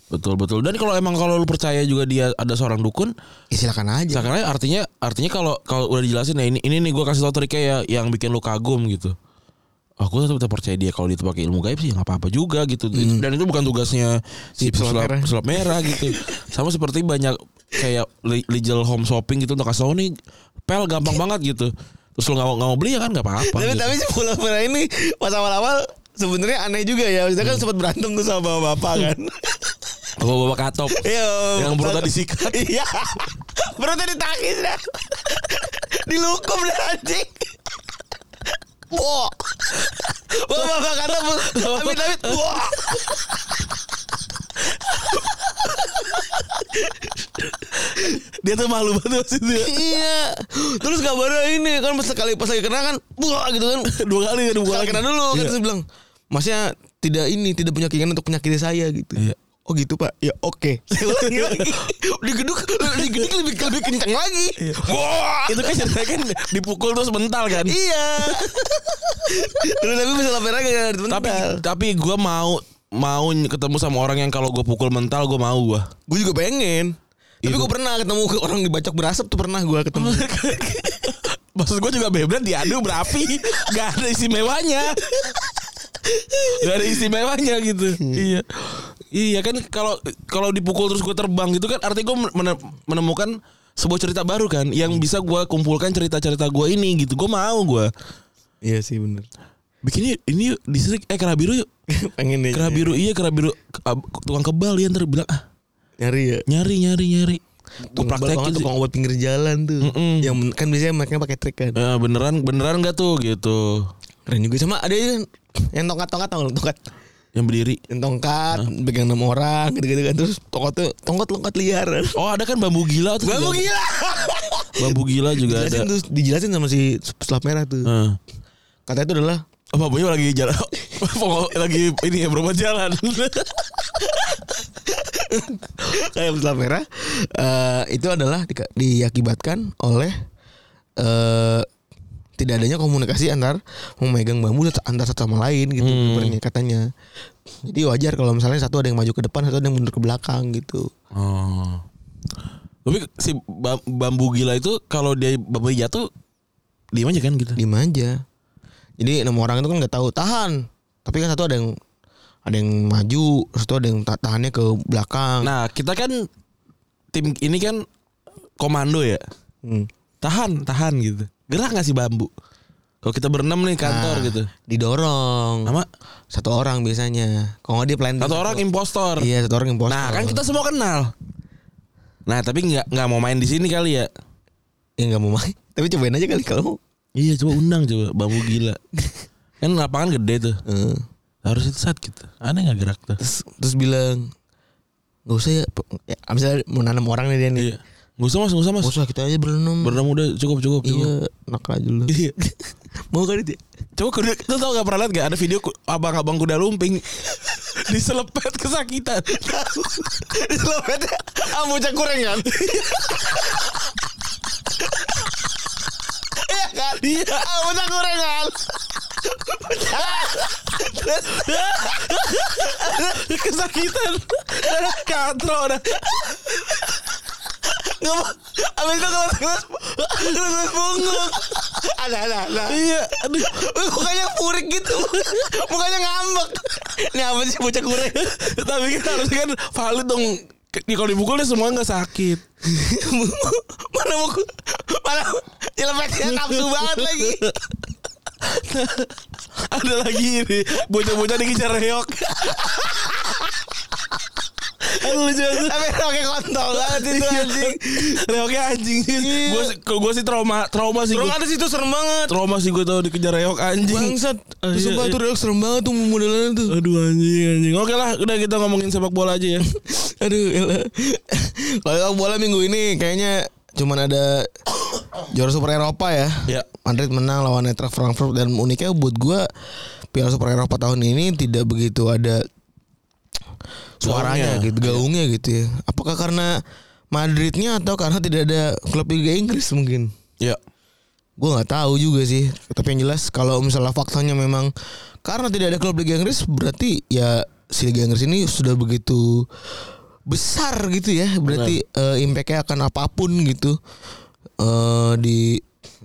Speaker 3: betul betul dan kalau emang kalau lu percaya juga dia ada seorang dukun
Speaker 2: Ya silakan aja.
Speaker 3: Seakan-akan artinya nah artinya kalau kalau udah dijelasin ya ini ini nih gue kasih tau triknya ya yang bikin lu kagum gitu. aku tetap tetap percaya dia kalau dia tuh pakai ilmu gaib sih ya nggak apa-apa juga gitu dan itu bukan tugasnya
Speaker 2: Si
Speaker 3: si
Speaker 2: pesulap
Speaker 3: pesulap merah.
Speaker 2: merah.
Speaker 3: pesulap merah gitu sama seperti banyak kayak li- legal home shopping gitu untuk kasih tau nih pel gampang banget gitu terus lo nggak mau nggak mau beli ya kan nggak apa-apa
Speaker 2: Tapi
Speaker 3: gitu.
Speaker 2: tapi si Pulau Merah ini pas awal-awal sebenarnya aneh juga ya. Kita kan sempat berantem tuh sama bapak kan.
Speaker 3: bawa bawa katop
Speaker 2: Iya.
Speaker 3: yang perutnya disikat
Speaker 2: Iya. Perutnya ditakis dah. Dilukum dah anjing. Wah. Wah, bapak kata bu, amit amit. Wah.
Speaker 3: dia tuh malu banget maksudnya
Speaker 2: Iya. Terus kabarnya ini kan pas sekali pas lagi kena kan, wah gitu kan.
Speaker 3: dua kali kan dua
Speaker 2: Sekali
Speaker 3: kali
Speaker 2: kena dulu kan
Speaker 3: Iya.
Speaker 2: terus bilang, masnya tidak ini tidak punya keinginan untuk menyakiti saya gitu.
Speaker 3: Iya.
Speaker 2: Oh gitu pak, ya oke. Saya ulangi lagi. Iya. Digeduk, digeduk lebih lebih kencang lagi. Wah.
Speaker 3: itu kan ceritanya kan dipukul terus mental kan
Speaker 2: Iya. Dulu tapi bisa lapar lagi kan
Speaker 3: tapi tapi gue mau mau ketemu sama orang yang kalau gue pukul mental gue mau gue
Speaker 2: gue juga pengen. Tapi
Speaker 3: Iya, Oh.
Speaker 2: gue pernah ketemu ke orang dibacok berasap tuh pernah gue ketemu.
Speaker 3: Maksud gue juga beblet diadu berapi Gak ada istimewanya Gak ada istimewanya gitu Iya Iya kan kalau kalau dipukul terus gue terbang gitu kan artinya gue mene- menemukan sebuah cerita baru kan yang bisa gue kumpulkan cerita-cerita gue ini gitu gue mau gue
Speaker 2: iya sih bener.
Speaker 3: bikinnya ini yuk, distrik eh kera biru yuk
Speaker 2: pengen deh.
Speaker 3: kera biru iya kera biru Ke- ab- tukang kebal ya ntar bilang ah
Speaker 2: Nyari ya.
Speaker 3: nyari nyari nyari gue
Speaker 2: Tukang
Speaker 3: praktekin
Speaker 2: praktekin
Speaker 3: sih.
Speaker 2: tukang obat pinggir jalan tuh.
Speaker 3: Mm-mm.
Speaker 2: Yang men- kan biasanya mereka pakai trik kan.
Speaker 3: Eh, beneran beneran gak tuh gitu
Speaker 2: Keren juga sama ada yang yang tongkat-tongkat tau nggak lu tongkat.
Speaker 3: yang berdiri
Speaker 2: Yang tongkat pegang enam orang gitu-gitu kan terus tongkat tuh tongkat tongkat liar.
Speaker 3: Oh ada kan bambu gila tuh.
Speaker 2: Bambu
Speaker 3: juga.
Speaker 2: gila.
Speaker 3: Bambu gila juga ada.
Speaker 2: Dijelasin terus dijelasin sama si selap merah tuh.
Speaker 3: Heeh.
Speaker 2: Katanya itu adalah
Speaker 3: Oh, bambunya lagi jalan. Pokok- lagi ini ya berobat jalan.
Speaker 2: kayak pesulap merah eh, itu adalah dika- diakibatkan oleh eh tidak adanya komunikasi antar memegang bambu sat- antar satu sama lain gitu
Speaker 3: Hmm.
Speaker 2: sebenarnya katanya jadi wajar kalau misalnya satu ada yang maju ke depan satu ada yang mundur ke belakang gitu
Speaker 3: oh. Tapi si ba- bambu gila itu kalau dia bambu jatuh diem aja kan gitu.
Speaker 2: diem aja jadi enam orang itu kan nggak tahu tahan tapi kan satu ada yang ada yang maju satu ada yang ta- tahannya ke belakang
Speaker 3: Nah kita kan tim ini kan komando ya.
Speaker 2: Hmm.
Speaker 3: Tahan tahan gitu. Gerak nggak sih bambu? Kalau kita berenam nih kantor
Speaker 2: Nah,
Speaker 3: gitu.
Speaker 2: didorong
Speaker 3: Sama
Speaker 2: satu orang biasanya kalau nggak dia plan B,
Speaker 3: satu orang impostor.
Speaker 2: iya satu orang impostor
Speaker 3: Nah kan kita semua kenal. Nah tapi nggak nggak mau main di sini kali ya?
Speaker 2: Ya nggak mau main. Tapi cobain aja kali kalau mau.
Speaker 3: Iya coba undang coba bambu gila. kan lapangan gede tuh.
Speaker 2: Eh,
Speaker 3: Harus itu saat gitu. Aneh nggak gerak tuh.
Speaker 2: Terus terus bilang nggak usah ya. Pe- ya misalnya mau nanam orang nih dia nih.
Speaker 3: Iya. Gak usah mas, gak usah mas.
Speaker 2: Nggak usah kita aja berenam.
Speaker 3: Berenam udah cukup cukup. cukup.
Speaker 2: iya, enak aja lu.
Speaker 3: Iya.
Speaker 2: mau kan dia?
Speaker 3: Coba kuda, lu tau gak pernah liat gak ada video ku- abang-abang kuda lumping diselepet kesakitan.
Speaker 2: Selepetnya ah bocah kurang kan. Iya kan? Iya. Ah bocah kurang kan.
Speaker 3: kesakitan. Udah katro udah.
Speaker 2: Nggak mau. Abis itu kelas kelas kelas punggung. Ada ada ada.
Speaker 3: Iya. Aduh.
Speaker 2: Mukanya purik gitu. Mukanya ngambek. Ini apa sih bocah kurang?
Speaker 3: Tapi kan harusnya kan valid dong. Di kalau dipukulnya semua nggak sakit.
Speaker 2: mana mau mana nyelepetinnya nafsu banget lagi
Speaker 3: Ada lagi ini bocah-bocah dikejar reok. Aduh lucu banget.
Speaker 2: tapi pakai kontol banget itu anjing
Speaker 3: Iya. Reoknya anjing. Gua sih- kalau gua sih trauma trauma sih.
Speaker 2: terus
Speaker 3: Gua,
Speaker 2: atas itu serem banget
Speaker 3: trauma sih gua tau dikejar reok anjing.
Speaker 2: bangsat
Speaker 3: Ah,
Speaker 2: Terus
Speaker 3: iya,
Speaker 2: sumpah
Speaker 3: iya.
Speaker 2: tuh reok serem banget tuh modelannya tuh
Speaker 3: Aduh anjing anjing. Oke lah, udah kita ngomongin sepak bola aja ya.
Speaker 2: aduh elah. kalau sepak bola minggu ini kayaknya cuman ada juara Super Eropa ya
Speaker 3: Ya.
Speaker 2: Madrid menang lawan Eintracht Frankfurt dan uniknya buat gua Piala Super Eropa tahun ini tidak begitu ada suaranya
Speaker 3: Gaungnya.
Speaker 2: gitu, gaungnya gitu ya. Apakah karena Madridnya atau karena tidak ada klub Liga Inggris mungkin?
Speaker 3: Ya.
Speaker 2: Gua nggak tahu juga sih. Tapi yang jelas kalau misalnya faktanya memang karena tidak ada klub Liga Inggris berarti ya si Liga Inggris ini sudah begitu besar gitu ya. Berarti eh, impact-nya akan apapun gitu. eh di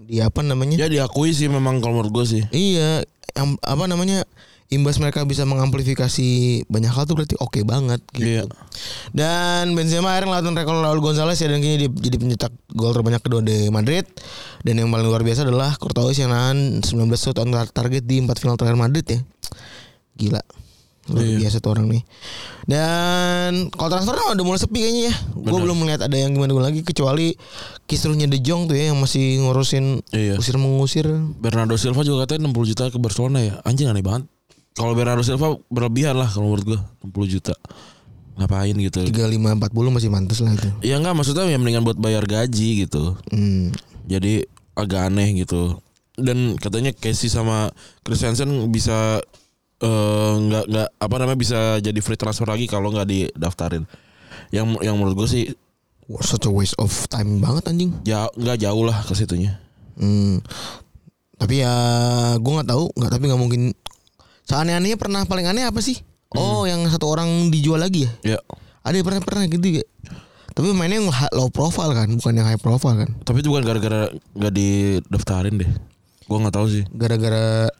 Speaker 2: di apa namanya?
Speaker 3: Ya diakui sih memang kalau menurut gua sih.
Speaker 2: Iya, am- apa namanya imbas mereka bisa mengamplifikasi banyak hal tuh berarti oke banget gitu.
Speaker 3: Iya.
Speaker 2: Dan Benzema akhirnya ngelawan rekor Raul Gonzalez ya dan kini dia jadi pencetak gol terbanyak kedua di Madrid. Dan yang paling luar biasa adalah Courtois yang nahan 19 shot on tar- target di empat final terakhir Madrid ya. Gila. Luar
Speaker 3: Iya.
Speaker 2: biasa tuh orang nih. Dan kalau transfer kan udah mulai sepi kayaknya ya. Gue belum melihat ada yang gimana lagi kecuali kisruhnya De Jong tuh ya yang masih ngurusin
Speaker 3: Iya.
Speaker 2: usir mengusir.
Speaker 3: Bernardo Silva juga katanya 60 juta ke Barcelona ya. Anjing aneh banget. Kalau Bernardo Silva berlebihan lah kalau menurut gua 60 juta. Ngapain gitu.
Speaker 2: 35 40 masih mantas lah itu.
Speaker 3: Ya enggak maksudnya ya mendingan buat bayar gaji gitu.
Speaker 2: Hmm.
Speaker 3: Jadi agak aneh gitu. Dan katanya Casey sama Christensen bisa eh, nggak nggak apa namanya bisa jadi free transfer lagi kalau nggak didaftarin. Yang yang menurut gue sih
Speaker 2: Wah, such a waste of time banget anjing.
Speaker 3: jauh nggak jauh lah ke situnya.
Speaker 2: Hmm. Tapi ya gue nggak tahu, nggak tapi nggak mungkin. Seaneh-anehnya pernah paling aneh apa sih?
Speaker 3: Hmm.
Speaker 2: Oh, yang satu orang dijual lagi ya?
Speaker 3: Ya.
Speaker 2: Ada yang pernah pernah gitu ya? Tapi mainnya yang ha- low profile kan, bukan yang high profile kan.
Speaker 3: Tapi itu bukan gara-gara nggak didaftarin deh. Gue nggak tahu sih.
Speaker 2: Gara-gara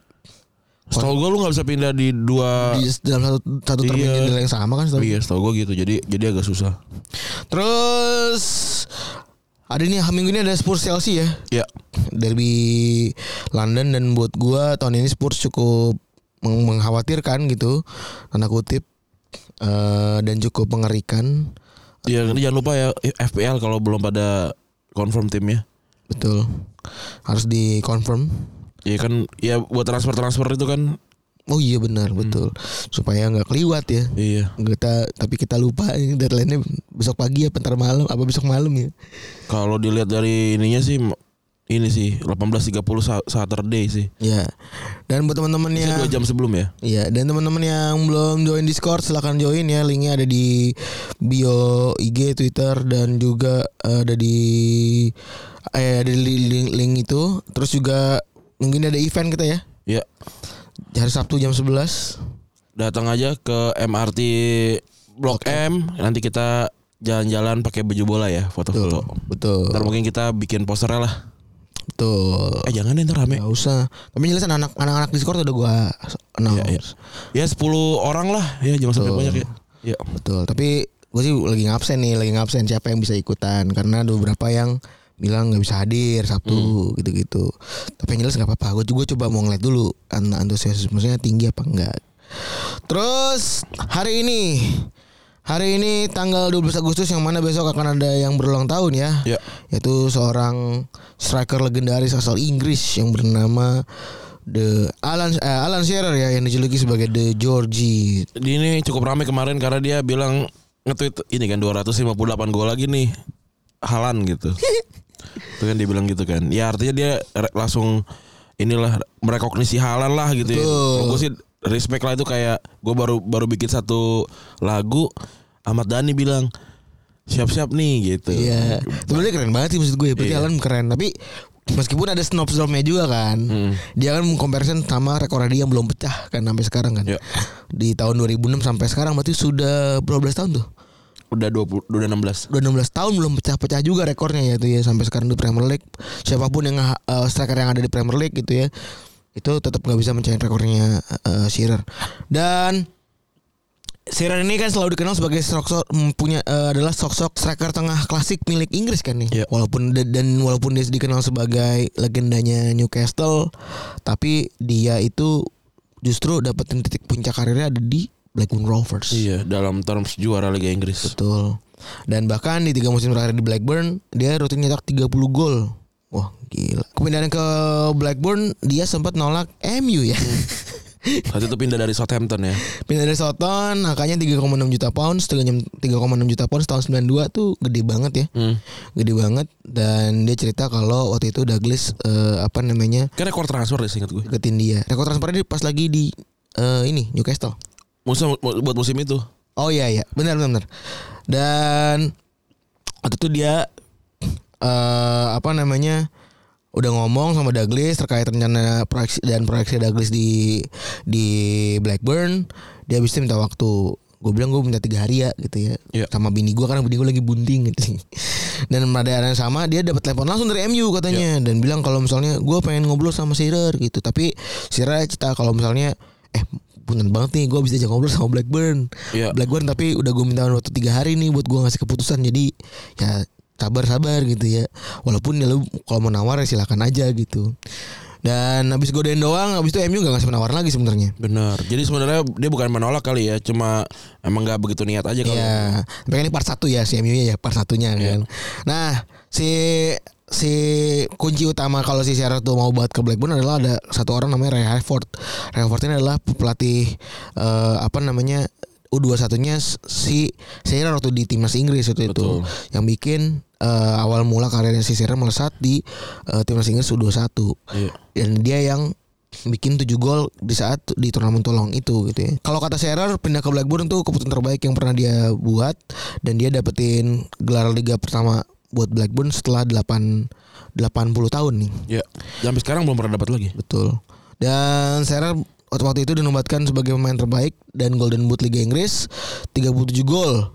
Speaker 3: Setahu gue lu nggak bisa pindah di dua.
Speaker 2: di- dalam satu satu termin
Speaker 3: Ah. Iya.
Speaker 2: jendela yang sama kan. setahu
Speaker 3: Iya, setahu gue gitu. Jadi jadi agak susah.
Speaker 2: Terus ada nih minggu ini ada Spurs Chelsea ya.
Speaker 3: Ya.
Speaker 2: Derby London dan buat gua tahun ini Spurs cukup meng- mengkhawatirkan gitu. Tanda kutip Eh, dan cukup mengerikan.
Speaker 3: Ya jangan lupa ya FPL kalau belum pada confirm timnya.
Speaker 2: Betul. Harus dikonfirm.
Speaker 3: Ya kan ya buat transfer-transfer itu kan
Speaker 2: Oh iya benar,
Speaker 3: Hmm.
Speaker 2: betul. Supaya nggak keliwat ya.
Speaker 3: iya.
Speaker 2: Kita tapi kita lupa ini deadline-nya besok pagi ya, bentar malam apa besok malam ya.
Speaker 3: Kalau dilihat dari ininya sih ini sih 18.30 Sa- Saturday sih.
Speaker 2: Ya. Dan buat teman-teman
Speaker 3: Iya. Bisa
Speaker 2: yang
Speaker 3: dua jam sebelum ya.
Speaker 2: Iya, dan teman-teman yang belum join Discord silahkan join ya. Linknya ada di bio IG, Twitter dan juga eh, ada di eh ada di link, link itu. Terus juga mungkin ada event kita ya.
Speaker 3: Ya.
Speaker 2: Hari Sabtu jam 11.
Speaker 3: Datang aja ke MRT Blok M nanti kita jalan-jalan pakai baju bola ya
Speaker 2: Betul.
Speaker 3: foto-foto.
Speaker 2: Betul.
Speaker 3: Ntar mungkin kita bikin posternya lah.
Speaker 2: Betul.
Speaker 3: Eh jangan deh ntar rame.
Speaker 2: Gak usah. Tapi jelas anak anak-anak Discord udah gua announce.
Speaker 3: Ya, ya. ya 10 orang lah ya jangan sampai
Speaker 2: Iya. Betul.
Speaker 3: banyak ya. Ya.
Speaker 2: Betul, tapi gue sih lagi ngabsen nih, lagi ngabsen siapa yang bisa ikutan karena ada beberapa yang bilang nggak bisa hadir Sabtu gitu-gitu. Tapi yang jelas nggak apa-apa. Gue juga coba mau ngeliat dulu an- antusiasmenya tinggi apa enggak. Terus hari ini Hari ini tanggal 12 Agustus yang mana besok akan ada yang berulang tahun ya.
Speaker 3: Ya.
Speaker 2: Yaitu seorang striker legendaris asal Inggris yang bernama The Alan eh, Alan Shearer ya yang dijuluki sebagai The Georgie
Speaker 3: Di ini cukup rame kemarin karena dia bilang nge-tweet ini kan 258 gol lagi nih halan gitu. Itu kan dia bilang gitu kan. Ya artinya dia re- langsung inilah merekognisi halan lah gitu. ya.
Speaker 2: Betul.
Speaker 3: Kalau Gue sih respect lah itu kayak gue baru baru bikin satu lagu Ahmad Dhani bilang siap-siap nih gitu.
Speaker 2: Iya. Sebenarnya keren banget sih maksud gue. Berarti
Speaker 3: Iya.
Speaker 2: Alan keren. Tapi meskipun ada snob snobnya juga kan.
Speaker 3: Hmm.
Speaker 2: Dia kan mengkomparisen sama rekor dia yang belum pecah kan sampai sekarang kan.
Speaker 3: Iya.
Speaker 2: Di tahun 2006 sampai sekarang berarti sudah berapa belas tahun tuh?
Speaker 3: Udah 20 udah 16.
Speaker 2: Udah 16 tahun belum pecah-pecah juga rekornya ya itu ya sampai sekarang di Premier League. Siapapun yang eh, striker yang ada di Premier League gitu ya. Itu tetap nggak bisa mencapai rekornya eh, Shearer. Dan Shearer ini kan selalu dikenal sebagai sosok mempunyai eh, adalah sosok striker tengah klasik milik Inggris kan nih.
Speaker 3: Iya.
Speaker 2: Walaupun da- dan walaupun dia dikenal sebagai legendanya Newcastle, tapi dia itu justru dapetin titik puncak karirnya ada di Blackburn Rovers.
Speaker 3: Iya, dalam terms juara Liga Inggris.
Speaker 2: Betul. Dan bahkan di tiga musim terakhir di Blackburn dia rutin nyetak 30 gol. Wah gila. Kepindahan ke Blackburn dia sempat nolak MU ya.
Speaker 3: Saat itu pindah dari Southampton ya.
Speaker 2: Pindah dari Soton angkanya 3,6 juta pounds dengan 3,6 juta pounds tahun 92 tuh gede banget ya.
Speaker 3: Hmm.
Speaker 2: Gede banget dan dia cerita kalau waktu itu Douglas eh, apa namanya
Speaker 3: Kan rekor transfer deh seingat gue.
Speaker 2: deketin dia. Rekor transfernya dia pas lagi di eh, ini Newcastle.
Speaker 3: Musim mu- buat musim itu.
Speaker 2: Oh iya iya, benar benar. benar. Dan waktu itu dia eh apa namanya? udah ngomong sama Douglas terkait rencana proyeksi dan proyeksi Douglas di di Blackburn, dia habis itu minta waktu gue bilang gue minta tiga hari ya gitu ya
Speaker 3: Iya.
Speaker 2: sama bini gue karena bini gue lagi bunting gitu dan pada hari yang sama dia dapat telepon langsung dari MU katanya dan bilang kalau misalnya gue pengen ngobrol sama Sirer gitu tapi Sirer cerita kalau misalnya eh punten banget nih gue bisa aja ngobrol sama Blackburn
Speaker 3: Iya.
Speaker 2: Blackburn tapi udah gue minta waktu tiga hari nih buat gue ngasih keputusan jadi ya sabar-sabar gitu ya walaupun ya lu kalau mau nawar ya silakan aja gitu dan habis godain doang habis itu MU gak ngasih nawar lagi sebenarnya
Speaker 3: Bener. Jadi sebenarnya dia bukan menolak kali ya, cuma emang nggak begitu niat aja ya. kalau. Iya.
Speaker 2: Iya. Tapi kan ini part 1 ya si MU nya ya part satunya kan. Nah, si si kunci utama kalau si Sierra tuh mau buat ke Blackburn adalah ada satu orang namanya Ray Harford. Ray Harford ini adalah pelatih eh, apa namanya U21-nya si Sierra waktu di timnas Inggris waktu itu
Speaker 3: Betul.
Speaker 2: yang bikin eh, awal mula karirnya si Sierra melesat di eh, timnas Inggris U21.
Speaker 3: Iya.
Speaker 2: Dan dia yang bikin 7 gol di saat di turnamen tolong itu gitu ya. Kalau kata Sherer pindah ke Blackburn tuh keputusan terbaik yang pernah dia buat dan dia dapetin gelar liga pertama buat Blackburn setelah 8 80 tahun nih.
Speaker 3: Iya. Dan Sampai sekarang belum pernah dapat lagi.
Speaker 2: Betul. Dan Sherer waktu waktu itu dinobatkan sebagai pemain terbaik dan Golden Boot Liga Inggris 37 gol.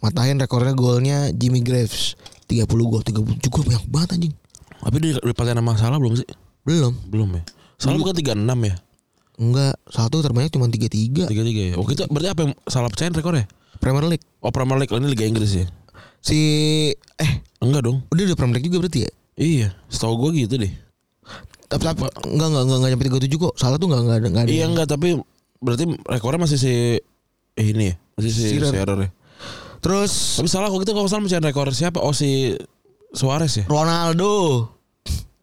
Speaker 2: Matahin rekornya golnya Jimmy Graves 30 gol 37 gol banyak banget anjing.
Speaker 3: Tapi dia dipatahin sama salah belum sih?
Speaker 2: Belum.
Speaker 3: Belum ya. Salah bukan 36 ya?
Speaker 2: Enggak, satu terbanyak cuma 33
Speaker 3: 33 ya. Waktu itu berarti apa yang salah pecahin rekornya?
Speaker 2: Premier League.
Speaker 3: Oh Premier League ini Liga Inggris ya?
Speaker 2: Si eh
Speaker 3: Enggak dong.
Speaker 2: udah udah Premier League juga berarti ya?
Speaker 3: Iya, setahu gue gitu deh.
Speaker 2: Tapi tapi enggak enggak enggak, enggak nyampe 37 kok. Salah tuh enggak enggak ada- enggak ada.
Speaker 3: Iya
Speaker 2: yang-
Speaker 3: enggak tapi berarti rekornya masih si eh, ini ya, masih si
Speaker 2: Shearer.
Speaker 3: Shearer ya.
Speaker 2: Terus
Speaker 3: Tapi salah kok kita kalau salah mencari rekor siapa? Oh si Suarez ya?
Speaker 2: Ronaldo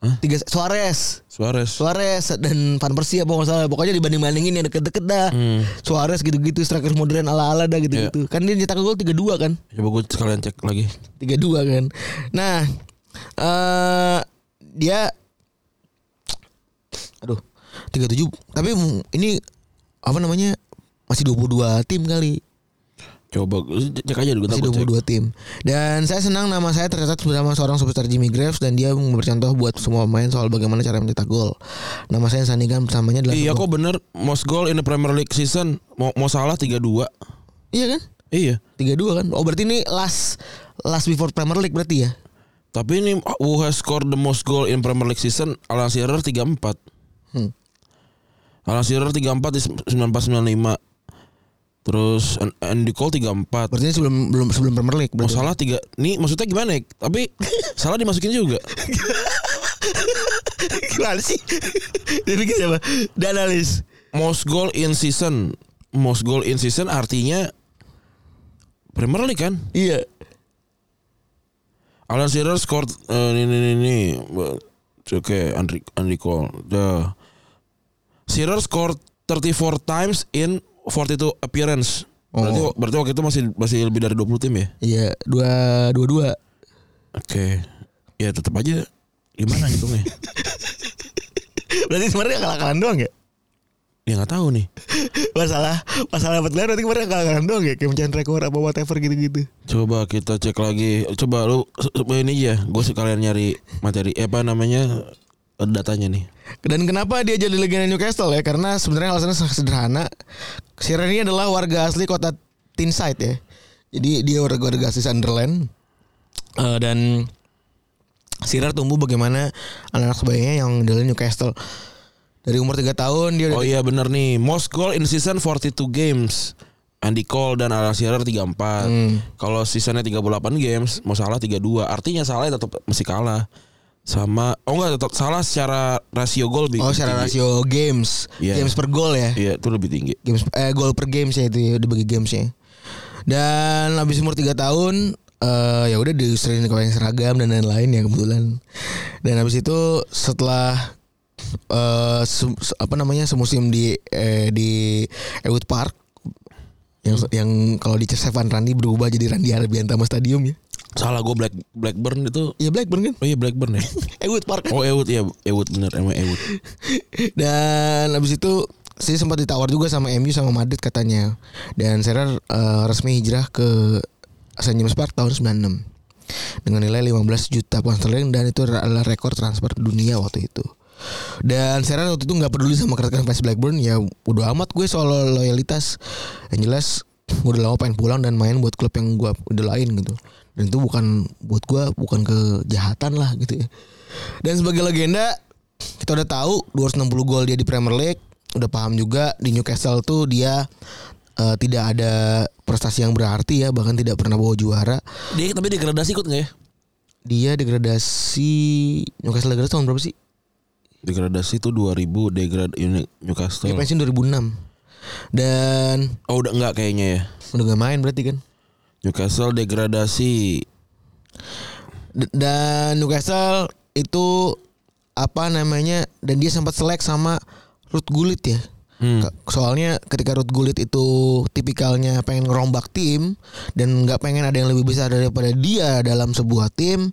Speaker 3: Hah?
Speaker 2: tiga Suarez
Speaker 3: Suarez.
Speaker 2: Suarez dan Van Persie apa nggak salah pokoknya dibanding bandingin yang deket-deket dah
Speaker 3: Hmm. Iya.
Speaker 2: Suarez gitu-gitu striker modern ala-ala dah gitu-gitu kan dia nyetak gol 3-2 kan
Speaker 3: Coba gue sekalian cek lagi.
Speaker 2: 3-2 kan nah eh dia aduh 37 tapi ini apa namanya masih 22 tim kali
Speaker 3: Coba gua- cek aja dulu.
Speaker 2: Masih
Speaker 3: ntar gua cek.
Speaker 2: 22 tim. Dan saya senang nama saya tercatat bersama seorang superstar Jimmy Graves dan dia memberi contoh buat semua pemain soal bagaimana cara mencetak gol. Nama saya yang saya sandingkan bersamanya adalah sebuah-
Speaker 3: Iya kok bener Most goal in the Premier League season Mau, mau salah 3-2
Speaker 2: Iya kan?
Speaker 3: Iya
Speaker 2: 32 kan. Oh berarti ini last last before Premier League berarti ya.
Speaker 3: Tapi ini ah, Who has scored the most goal in Premier League season Alan Shearer 34
Speaker 2: Hmm.
Speaker 3: Alan Shearer 34 di 94-95 Terus An- Andy Cole 34
Speaker 2: Berarti ini sebelum belum sebelum Premier League
Speaker 3: Mau
Speaker 2: berarti.
Speaker 3: salah 3 Nih maksudnya gimana ya Tapi salah dimasukin juga
Speaker 2: Gimana sih? Dia bikin siapa? Danalis.
Speaker 3: Most goal in season Most goal in season artinya Premier League kan
Speaker 2: Iya.
Speaker 3: Alan Shearer scored eh, ini ini ini. Oke, Andri Andri Cole. The Shearer scored 34 times in 42 appearance. Berarti
Speaker 2: Oh.
Speaker 3: berarti waktu itu masih masih lebih dari 20 tim ya.
Speaker 2: Iya, dua dua dua.
Speaker 3: Oke. Ya tetap aja gimana hitungnya?
Speaker 2: Berarti sebenarnya kalah-kalahan doang ya?
Speaker 3: ya nggak tahu nih.
Speaker 2: Masalah masalah dapat gelar berarti kemarin kalah-kalahan doang ya? Kayak mencari rekor apa whatever gitu-gitu.
Speaker 3: Coba kita cek lagi. Coba lu se- se- ini aja. Gue sekalian nyari materi eh, apa namanya eh, datanya nih.
Speaker 2: Dan kenapa dia jadi legenda Newcastle ya? Karena sebenarnya alasannya sangat sederhana. Shearer ini adalah warga asli kota Tinside ya. Jadi dia warga warga asli Sunderland. Eh, dan Shearer tumbuh bagaimana anak-anak sebayanya yang dari Newcastle. Dari umur 3 tahun dia udah
Speaker 3: Oh iya bener nih. Most goal in season 42 games. Andy Cole dan Alan Shearer 34. Kalau seasonnya 38 games, mau salah 32. Artinya salah tetap masih kalah. Sama oh enggak tetap salah secara rasio gol lebih
Speaker 2: Oh, secara
Speaker 3: tinggi.
Speaker 2: rasio games,
Speaker 3: Iya.
Speaker 2: games per gol ya.
Speaker 3: Iya, itu lebih tinggi.
Speaker 2: games eh gol per games ya itu ya, dibagi games ya. Dan habis umur 3 tahun eh ya udah diusirin ke yang seragam dan lain-lain ya kebetulan. Dan habis itu setelah eh se- se- apa namanya semusim di eh, di Ewood Park yang yang kalau di Van Randy berubah jadi Randy Arbiantama Stadium ya.
Speaker 3: Salah gue Black Blackburn itu.
Speaker 2: Iya Blackburn kan?
Speaker 3: Oh iya Blackburn ya.
Speaker 2: Ewood Park. kan?
Speaker 3: Oh Ewood ya, Ewood bener emang Ewood.
Speaker 2: Dan abis itu saya sempat ditawar juga sama MU sama Madrid katanya. Dan Serer eh, resmi hijrah ke St James Park tahun 96 dengan nilai 15 juta pound sterling dan itu adalah rekor transfer dunia waktu itu. Dan Serer waktu itu nggak peduli sama kertas fans Blackburn ya udah amat gue soal loyalitas. Yang jelas gue udah lama pengen pulang dan main buat klub yang gue udah lain gitu dan itu bukan buat gue bukan kejahatan lah gitu ya dan sebagai legenda kita udah tahu 260 gol dia di Premier League udah paham juga di Newcastle tuh dia eh, tidak ada prestasi yang berarti ya bahkan tidak pernah bawa juara
Speaker 3: Dia tapi degradasi ikut nggak ya?
Speaker 2: dia degradasi Newcastle degradasi tahun berapa sih?
Speaker 3: Degradasi itu 2000 degrad Uni-
Speaker 2: Dia
Speaker 3: Newcastle.
Speaker 2: pensiun 2006 dan
Speaker 3: Oh udah enggak kayaknya ya.
Speaker 2: udah gak main berarti kan
Speaker 3: Newcastle degradasi
Speaker 2: D- dan Newcastle itu apa namanya dan dia sempat selek sama Ruth Gullit ya Ke- soalnya ketika Ruth Gullit itu tipikalnya pengen ngerombak tim dan nggak pengen ada yang lebih besar daripada dia dalam sebuah tim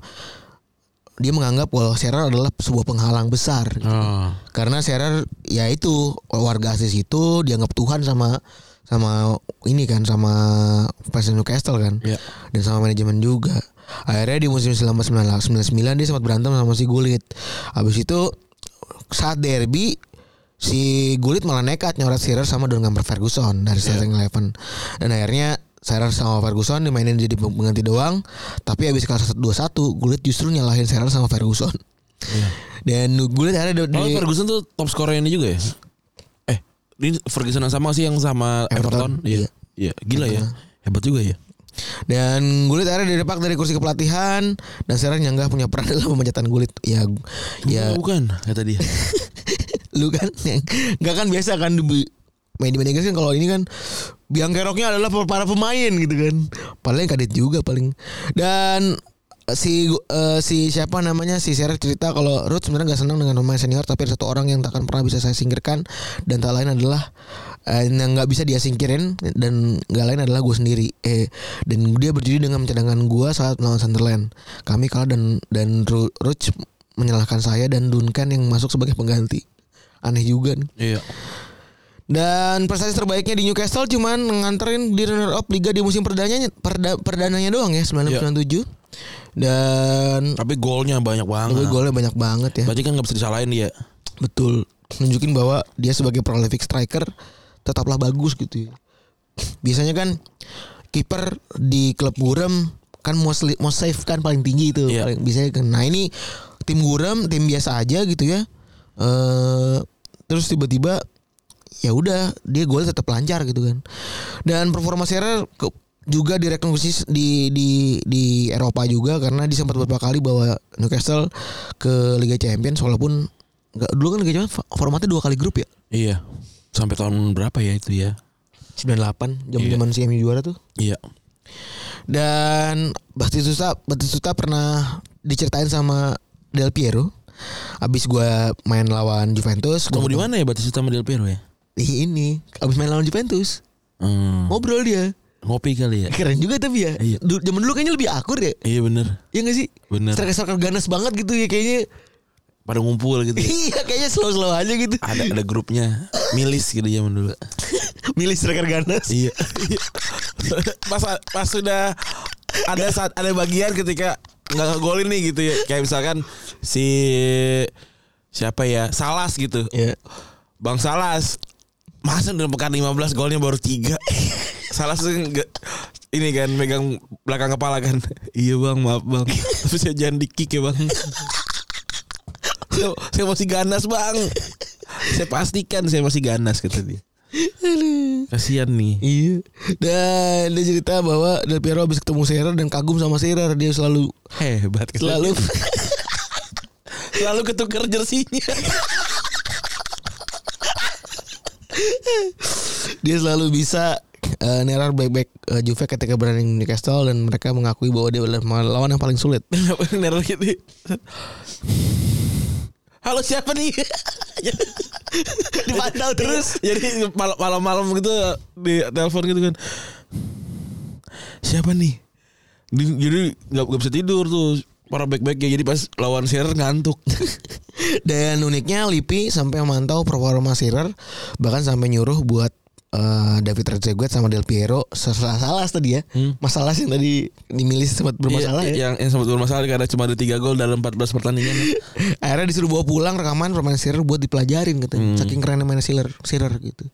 Speaker 2: dia menganggap kalau Shearer adalah sebuah penghalang besar gitu.
Speaker 3: Ah.
Speaker 2: karena Shearer ya itu warga asis itu dianggap Tuhan sama sama ini kan sama Presiden Newcastle kan
Speaker 3: Iya.
Speaker 2: dan sama manajemen juga akhirnya di musim 1999 dia sempat berantem sama si Gulit habis itu saat derby si Gulit malah nekat nyoret Shearer sama Duncan Ferguson dari
Speaker 3: Ya.
Speaker 2: starting eleven dan akhirnya Shearer sama Ferguson dimainin jadi pengganti doang tapi habis kalah 2-1 Gulit justru nyalahin Shearer sama Ferguson dan Gulit akhirnya di-
Speaker 3: Ya. Oh
Speaker 2: di-
Speaker 3: Ferguson tuh top scorer ini juga ya? Eh, ini Ferguson yang sama sih yang sama
Speaker 2: Everton.
Speaker 3: Everton. Iya. Iya, gila ya. Hebat juga ya.
Speaker 2: Dan Gullit akhirnya didepak dari kursi kepelatihan dan sekarang nyanggah punya peran dalam pemecatan Gullit. Ya ya
Speaker 3: Oh, bukan kata dia.
Speaker 2: lu kan yang nggak kan biasa kan di main di main Inggris kan kalau ini kan biang keroknya adalah para pemain gitu kan. Paling kadit juga paling. Dan si eh, si siapa namanya si Serer cerita kalau Ruth sebenarnya nggak senang dengan pemain senior tapi ada satu orang yang tak akan pernah bisa saya singkirkan dan tak lain adalah eh, yang nggak bisa dia singkirin dan nggak lain adalah gue sendiri eh dan dia berdiri dengan mencadangkan gue saat melawan Sunderland kami kalah dan dan Ru- Ruth menyalahkan saya dan Duncan yang masuk sebagai pengganti aneh juga nih
Speaker 3: iya.
Speaker 2: dan prestasi terbaiknya di Newcastle cuman nganterin di runner up liga di musim perdananya perda, perdananya doang ya 1997. Dan
Speaker 3: Tapi golnya banyak banget.
Speaker 2: tapi golnya banyak banget ya.
Speaker 3: Berarti kan nggak bisa disalahin dia.
Speaker 2: Betul. Nunjukin bahwa dia sebagai prolific striker tetaplah bagus gitu. ya. Biasanya kan kiper di klub Gurem kan mau sli- mau save kan paling tinggi itu.
Speaker 3: Iya.
Speaker 2: Paling biasanya kan. Nah, ini tim Gurem, tim biasa aja gitu ya. Eh terus tiba-tiba ya udah dia gol tetap lancar gitu kan. Dan performa Serer ke- juga direkognisisi di di di Eropa juga karena dia sempat beberapa kali bawa Newcastle ke Liga Champions walaupun nggak dulu kan Liga Champions fa- formatnya dua kali grup ya.
Speaker 3: Iya. Sampai tahun berapa ya itu ya?
Speaker 2: 98 zaman-zaman si MU juara tuh.
Speaker 3: Iya.
Speaker 2: Dan Batistuta Batistuta pernah diceritain sama Del Piero. Abis gua main lawan Juventus,
Speaker 3: Ketemu
Speaker 2: gua
Speaker 3: di mana ya Batista sama Del Piero ya?
Speaker 2: Di ini. Abis main lawan Juventus,
Speaker 3: Hmm.
Speaker 2: ngobrol dia.
Speaker 3: Ngopi kali ya?
Speaker 2: Keren juga tapi ya.
Speaker 3: Iya.
Speaker 2: Du- Zaman dulu kayaknya lebih akur ya.
Speaker 3: Iya bener.
Speaker 2: Iya gak sih?
Speaker 3: Bener.
Speaker 2: Striker-striker ganas banget gitu ya kayaknya.
Speaker 3: Pada ngumpul gitu. ya.
Speaker 2: Iya kayaknya slow-slow aja gitu.
Speaker 3: ada ada grupnya milis gitu zaman dulu
Speaker 2: Milih striker ganas.
Speaker 3: iya pas pas sudah ada saat ada bagian ketika nggak ngegolin nih gitu ya kayak misalkan si siapa ya Salas gitu
Speaker 2: Iya.
Speaker 3: Bang Salas masa dalam pekan 15 golnya baru 3 Salas tuh nggak- ini kan megang belakang kepala kan iya bang maaf bang tapi saya jangan di kick ya bang saya, saya masih ganas bang saya pastikan saya masih ganas kata dia kasihan nih
Speaker 2: Iya. Dan dia cerita bahwa Del Piero habis ketemu Serer dan kagum sama Serer dia selalu
Speaker 3: hebat gitu. kata dia.
Speaker 2: selalu
Speaker 3: selalu ketukar jersinya
Speaker 2: dia selalu bisa eh, neror back-back eh, Juve ketika berani di Newcastle dan mereka mengakui bahwa dia adalah lawan yang paling sulit.
Speaker 3: Kenapa yang neror gitu Halo siapa nih? Dipantau terus. Jadi mal- malam-malam gitu di telepon gitu kan. Siapa nih? Di- Jadi nggak nggak bisa tidur tuh para back-back ya. Jadi pas lawan Shearer ngantuk.
Speaker 2: Dan uniknya Lipi sampai memantau performa Shearer bahkan sampai nyuruh buat eh, David Trezeguet sama Del Piero salah salah tadi ya. Masalah yang tadi dimilih sempat bermasalah ya.
Speaker 3: Yang yang sempat bermasalah karena cuma ada 3 gol dalam 14 pertandingan.
Speaker 2: Akhirnya disuruh bawa pulang rekaman permainan Shearer buat dipelajarin katanya. Saking kerennya main Shearer, Shearer gitu.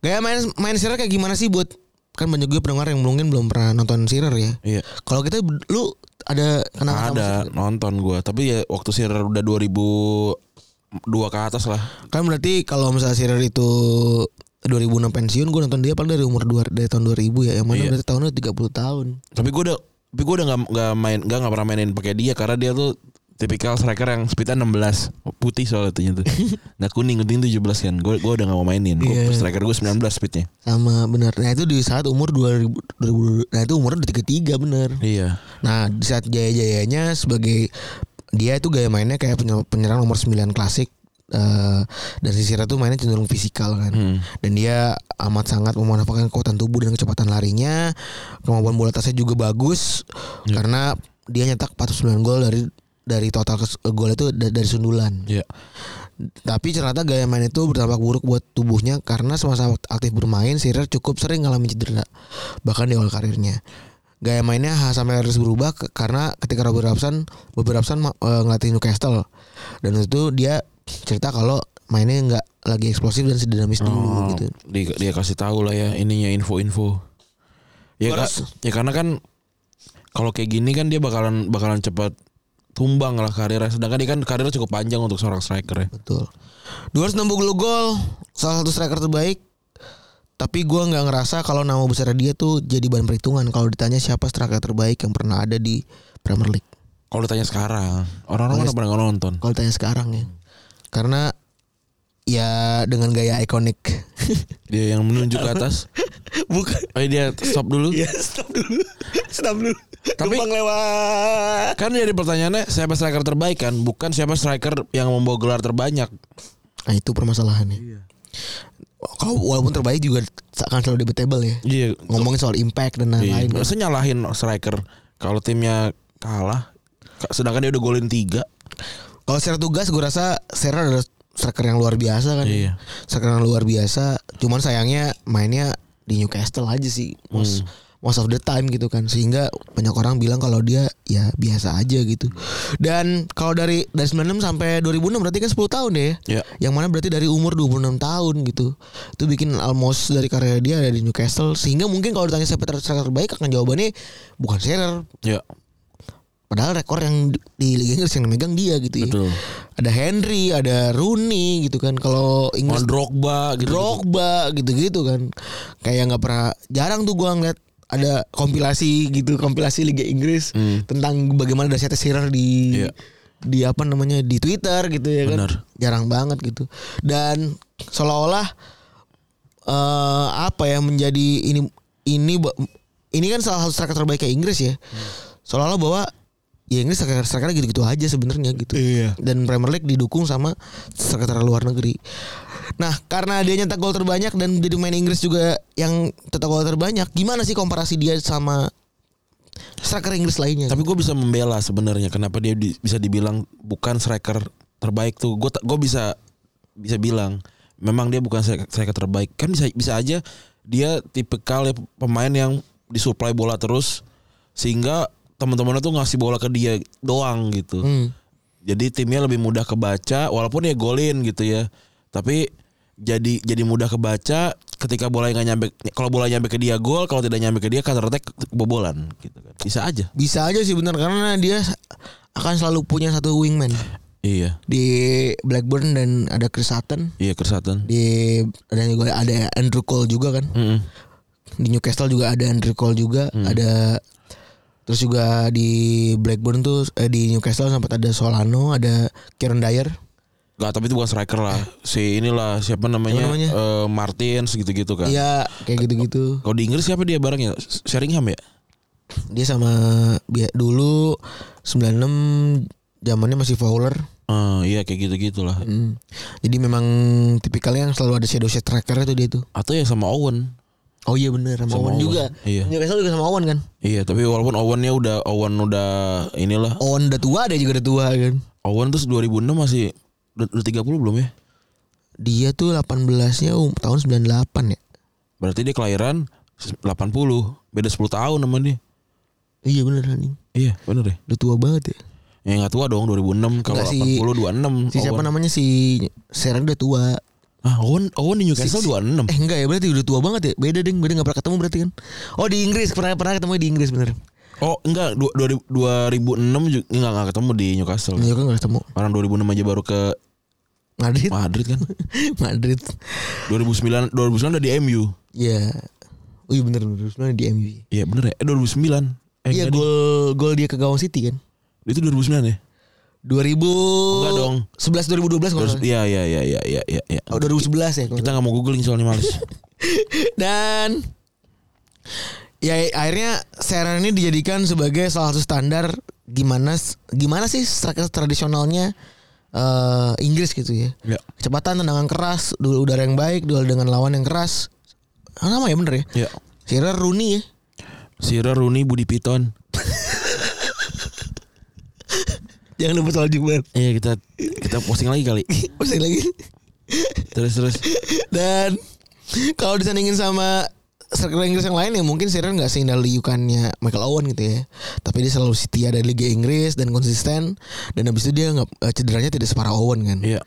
Speaker 2: Gaya main main sirer kayak gimana sih buat kan banyak gue pendengar yang mungkin belum pernah nonton sirer ya.
Speaker 3: Iya.
Speaker 2: Kalau kita lu ada kenangan sama
Speaker 3: ada
Speaker 2: sirer?
Speaker 3: nonton gua tapi ya waktu sih udah 2000 dua ke atas lah
Speaker 2: Kan berarti kalau misalnya sirer itu 2006 pensiun gue nonton dia paling dari umur 2 dari tahun 2000 ya yang mana
Speaker 3: Iya.
Speaker 2: berarti tahunnya 30 tahun.
Speaker 3: tapi gua udah tapi gua udah nggak nggak main nggak nggak pernah mainin pakai dia karena dia tuh tipikal striker yang speednya 16 putih soalnya itu tuh nah kuning kuning 17 kan gua gua udah nggak mau mainin gua,
Speaker 2: Iya.
Speaker 3: striker gua 19 speednya
Speaker 2: Sama benar. Nah itu di saat umur 2000, 2000 nah itu umurnya udah 33 benar.
Speaker 3: iya
Speaker 2: Nah di saat jaya-jayanya sebagai dia itu gaya mainnya kayak penyer- penyerang nomor 9 klasik eh, dan Sisira tuh mainnya cenderung fisikal kan dan dia amat sangat memanfaatkan kekuatan tubuh dan kecepatan larinya kemampuan bola atasnya juga bagus karena dia nyetak 49 gol dari dari total kes- gol itu da- dari sundulan
Speaker 3: iya
Speaker 2: tapi ternyata gaya main itu berdampak buruk buat tubuhnya karena semasa aktif bermain Sirer cukup sering ngalamin cedera bahkan di awal karirnya. Gaya mainnya ha- sampai harus berubah ke- karena ketika Robert Robson Robert Robson ma- eh, ngelatih Newcastle dan itu dia cerita kalau mainnya nggak lagi eksplosif dan sedinamis
Speaker 3: Oh,
Speaker 2: dulu gitu.
Speaker 3: di- dia kasih tahu lah ya ininya info-info ya Kak,
Speaker 2: Terus-
Speaker 3: ya karena kan kalau kayak gini kan dia bakalan bakalan cepat tumbang lah karirnya sedangkan dia kan karirnya cukup panjang untuk seorang striker ya
Speaker 2: Betul. 260 gol, salah satu striker terbaik. Tapi gua nggak ngerasa kalau nama besar dia tuh jadi bahan perhitungan kalau ditanya siapa striker terbaik yang pernah ada di Premier League.
Speaker 3: kalau ditanya sekarang orang-orang mana pernah nggak nonton
Speaker 2: kalau tanya sekarang ya karena ya dengan gaya ikonik
Speaker 3: dia yang menunjuk ke atas
Speaker 2: bukan
Speaker 3: eh dia stop dulu
Speaker 2: ya stop dulu stop dulu
Speaker 3: Tapi-
Speaker 2: Gerbang lewat
Speaker 3: kan jadi pertanyaannya siapa striker terbaik kan bukan siapa striker yang membawa gelar terbanyak
Speaker 2: nah itu permasalahannya
Speaker 3: Iya.
Speaker 2: kalau walaupun terbaik juga akan selalu debatable ya
Speaker 3: iya
Speaker 2: ngomongin soal impact dan lain-lain
Speaker 3: Iya, masa nyalahin striker kalau timnya kalah ka- sedangkan dia udah golin tiga
Speaker 2: kalau secara tugas gue rasa Serra adalah striker yang luar biasa kan
Speaker 3: Iya.
Speaker 2: striker yang luar biasa cuman sayangnya mainnya di Newcastle aja sih most most of the time gitu kan sehingga banyak orang bilang kalau dia ya biasa aja gitu dan kalau dari dari 96 sampai 2006 berarti kan 10 tahun deh
Speaker 3: Iya.
Speaker 2: yang mana berarti dari umur 26 tahun gitu itu bikin almost dari karya dia ada di Newcastle sehingga mungkin kalau ditanya siapa striker terbaik akan jawabannya bukan Serra
Speaker 3: ya
Speaker 2: Padahal rekor yang di- di Liga Inggris yang megang dia gitu ya.
Speaker 3: Betul.
Speaker 2: Ada Henry, ada Rooney gitu kan. Kalau
Speaker 3: Mau
Speaker 2: Inggris
Speaker 3: Drogba gitu.
Speaker 2: Drogba gitu-gitu kan. Kayak nggak pernah jarang tuh gua ngeliat ada kompilasi gitu, kompilasi Liga Inggris tentang bagaimana dahsyatnya Shearer di
Speaker 3: Hmm. Iya.
Speaker 2: di apa namanya di Twitter gitu ya kan.
Speaker 3: Benar.
Speaker 2: Jarang banget gitu. Dan seolah-olah eh apa ya menjadi ini ini ba- ini kan salah satu striker terbaik kayak Inggris ya. Seolah-olah bahwa ya Inggris striker strikernya gitu-gitu aja sebenarnya gitu.
Speaker 3: Iya.
Speaker 2: Dan Premier League didukung sama striker luar negeri. Nah, karena dia nyetak gol terbanyak dan jadi main Inggris juga yang cetak gol terbanyak, gimana sih komparasi dia sama striker Inggris lainnya?
Speaker 3: Tapi gue bisa membela sebenarnya kenapa dia di- bisa dibilang bukan striker terbaik tuh. Gue gue bisa bisa bilang memang dia bukan stri- striker terbaik. Kan bisa bisa aja dia tipikal ya pemain yang disuplai bola terus sehingga teman-temannya tuh ngasih bola ke dia doang gitu.
Speaker 2: Hmm.
Speaker 3: Jadi timnya lebih mudah kebaca walaupun ya golin gitu ya. Tapi jadi jadi mudah kebaca ketika bola nggak nyampe kalau bola nyampe ke dia gol kalau tidak nyampe ke dia counter attack kebobolan gitu kan. Bisa aja.
Speaker 2: Bisa aja sih benar karena dia akan selalu punya satu wingman
Speaker 3: Iya.
Speaker 2: di Blackburn dan ada Chris Sutton
Speaker 3: Iya ke Sutton.
Speaker 2: di dan juga ada Andrew Cole juga kan
Speaker 3: Mm-mm.
Speaker 2: di Newcastle juga ada Andrew Cole juga ada terus juga di Blackburn tuh eh, di Newcastle sempat ada Solano ada Kieran Dyer
Speaker 3: Nggak, tapi itu bukan striker lah. Si inilah siapa namanya?
Speaker 2: Siapa namanya?
Speaker 3: Eh, Martins gitu-gitu kan.
Speaker 2: iya kayak gitu-gitu
Speaker 3: Kalau di Inggris siapa dia barengnya? Sheringham ya?
Speaker 2: dia sama dia dulu 96 zamannya masih Fowler
Speaker 3: Eh, iya kayak gitu-gitulah.
Speaker 2: Hmm. jadi memang tipikalnya yang selalu ada shadow shot tracker itu dia tuh
Speaker 3: Atau ya sama Owen.
Speaker 2: oh iya bener sama,
Speaker 3: Sama
Speaker 2: Owen
Speaker 3: Owen,
Speaker 2: juga
Speaker 3: iya.
Speaker 2: Newcastle juga sama Owen kan
Speaker 3: Iya, tapi walaupun Owennya udah Owen udah inilah.
Speaker 2: Owen udah tua dia juga udah tua kan
Speaker 3: Owen terus 2006 masih udah, udah 30 belum ya?
Speaker 2: dia tuh 18-nya um, tahun 98 ya
Speaker 3: Berarti dia kelahiran 80. Beda 10 tahun sama dia.
Speaker 2: iya bener anjing
Speaker 3: Iya, bener deh.
Speaker 2: udah tua banget ya
Speaker 3: Ya enggak tua dong 2006 kalau
Speaker 2: Nggak, si-
Speaker 3: 80 26.
Speaker 2: si siapa
Speaker 3: Owen.
Speaker 2: namanya si Serang udah tua
Speaker 3: Ah, Owen Owen di Newcastle 26.
Speaker 2: Eh enggak ya berarti udah tua banget ya. Beda ding, beda nggak pernah ketemu berarti kan. Oh di Inggris pernah pernah ketemu di Inggris bener.
Speaker 3: Oh, enggak du- dua ribu- 2006 juga enggak enggak ketemu di Newcastle.
Speaker 2: Iya kan nggak ketemu.
Speaker 3: Orang 2006 aja baru ke
Speaker 2: Madrid,
Speaker 3: Madrid kan.
Speaker 2: Madrid.
Speaker 3: 2009 2009 udah di MU.
Speaker 2: Ya. Oh iya bener bener sebenarnya di MU.
Speaker 3: Iya bener ya. Eh 2009. Eh
Speaker 2: Iya
Speaker 3: enggak deh.
Speaker 2: gol gol dia ke gawang City kan.
Speaker 3: itu 2009 ya?
Speaker 2: 2000
Speaker 3: Enggak dong.
Speaker 2: 11 2012 kalau nggak
Speaker 3: Terus
Speaker 2: salah.
Speaker 3: iya iya iya iya iya iya. Ya.
Speaker 2: Oh, 2011 ya. kalau nggak
Speaker 3: Kita nggak mau googling soalnya males.
Speaker 2: Dan ya akhirnya Serena ini dijadikan sebagai salah satu standar gimana gimana sih striker tradisionalnya eh, Inggris gitu ya.
Speaker 3: ya.
Speaker 2: Kecepatan, tendangan keras, duel udara yang baik, duel dengan lawan yang keras. Ah, Nama ya bener ya.
Speaker 3: Ya.
Speaker 2: Shearer Rooney ya.
Speaker 3: Sira Rooney Budi Piton.
Speaker 2: Jangan lupa soal Jumat.
Speaker 3: Iya kita kita posting lagi kali.
Speaker 2: Masih lagi.
Speaker 3: Terus terus.
Speaker 2: Dan kalau disandingin sama striker Inggris yang lain ya mungkin Shearer nggak seindah liukannya Michael Owen gitu ya. Tapi dia selalu setia dari Liga Inggris dan konsisten. Dan habis itu dia nggak eh, cederanya tidak separah Owen kan.
Speaker 3: Iya.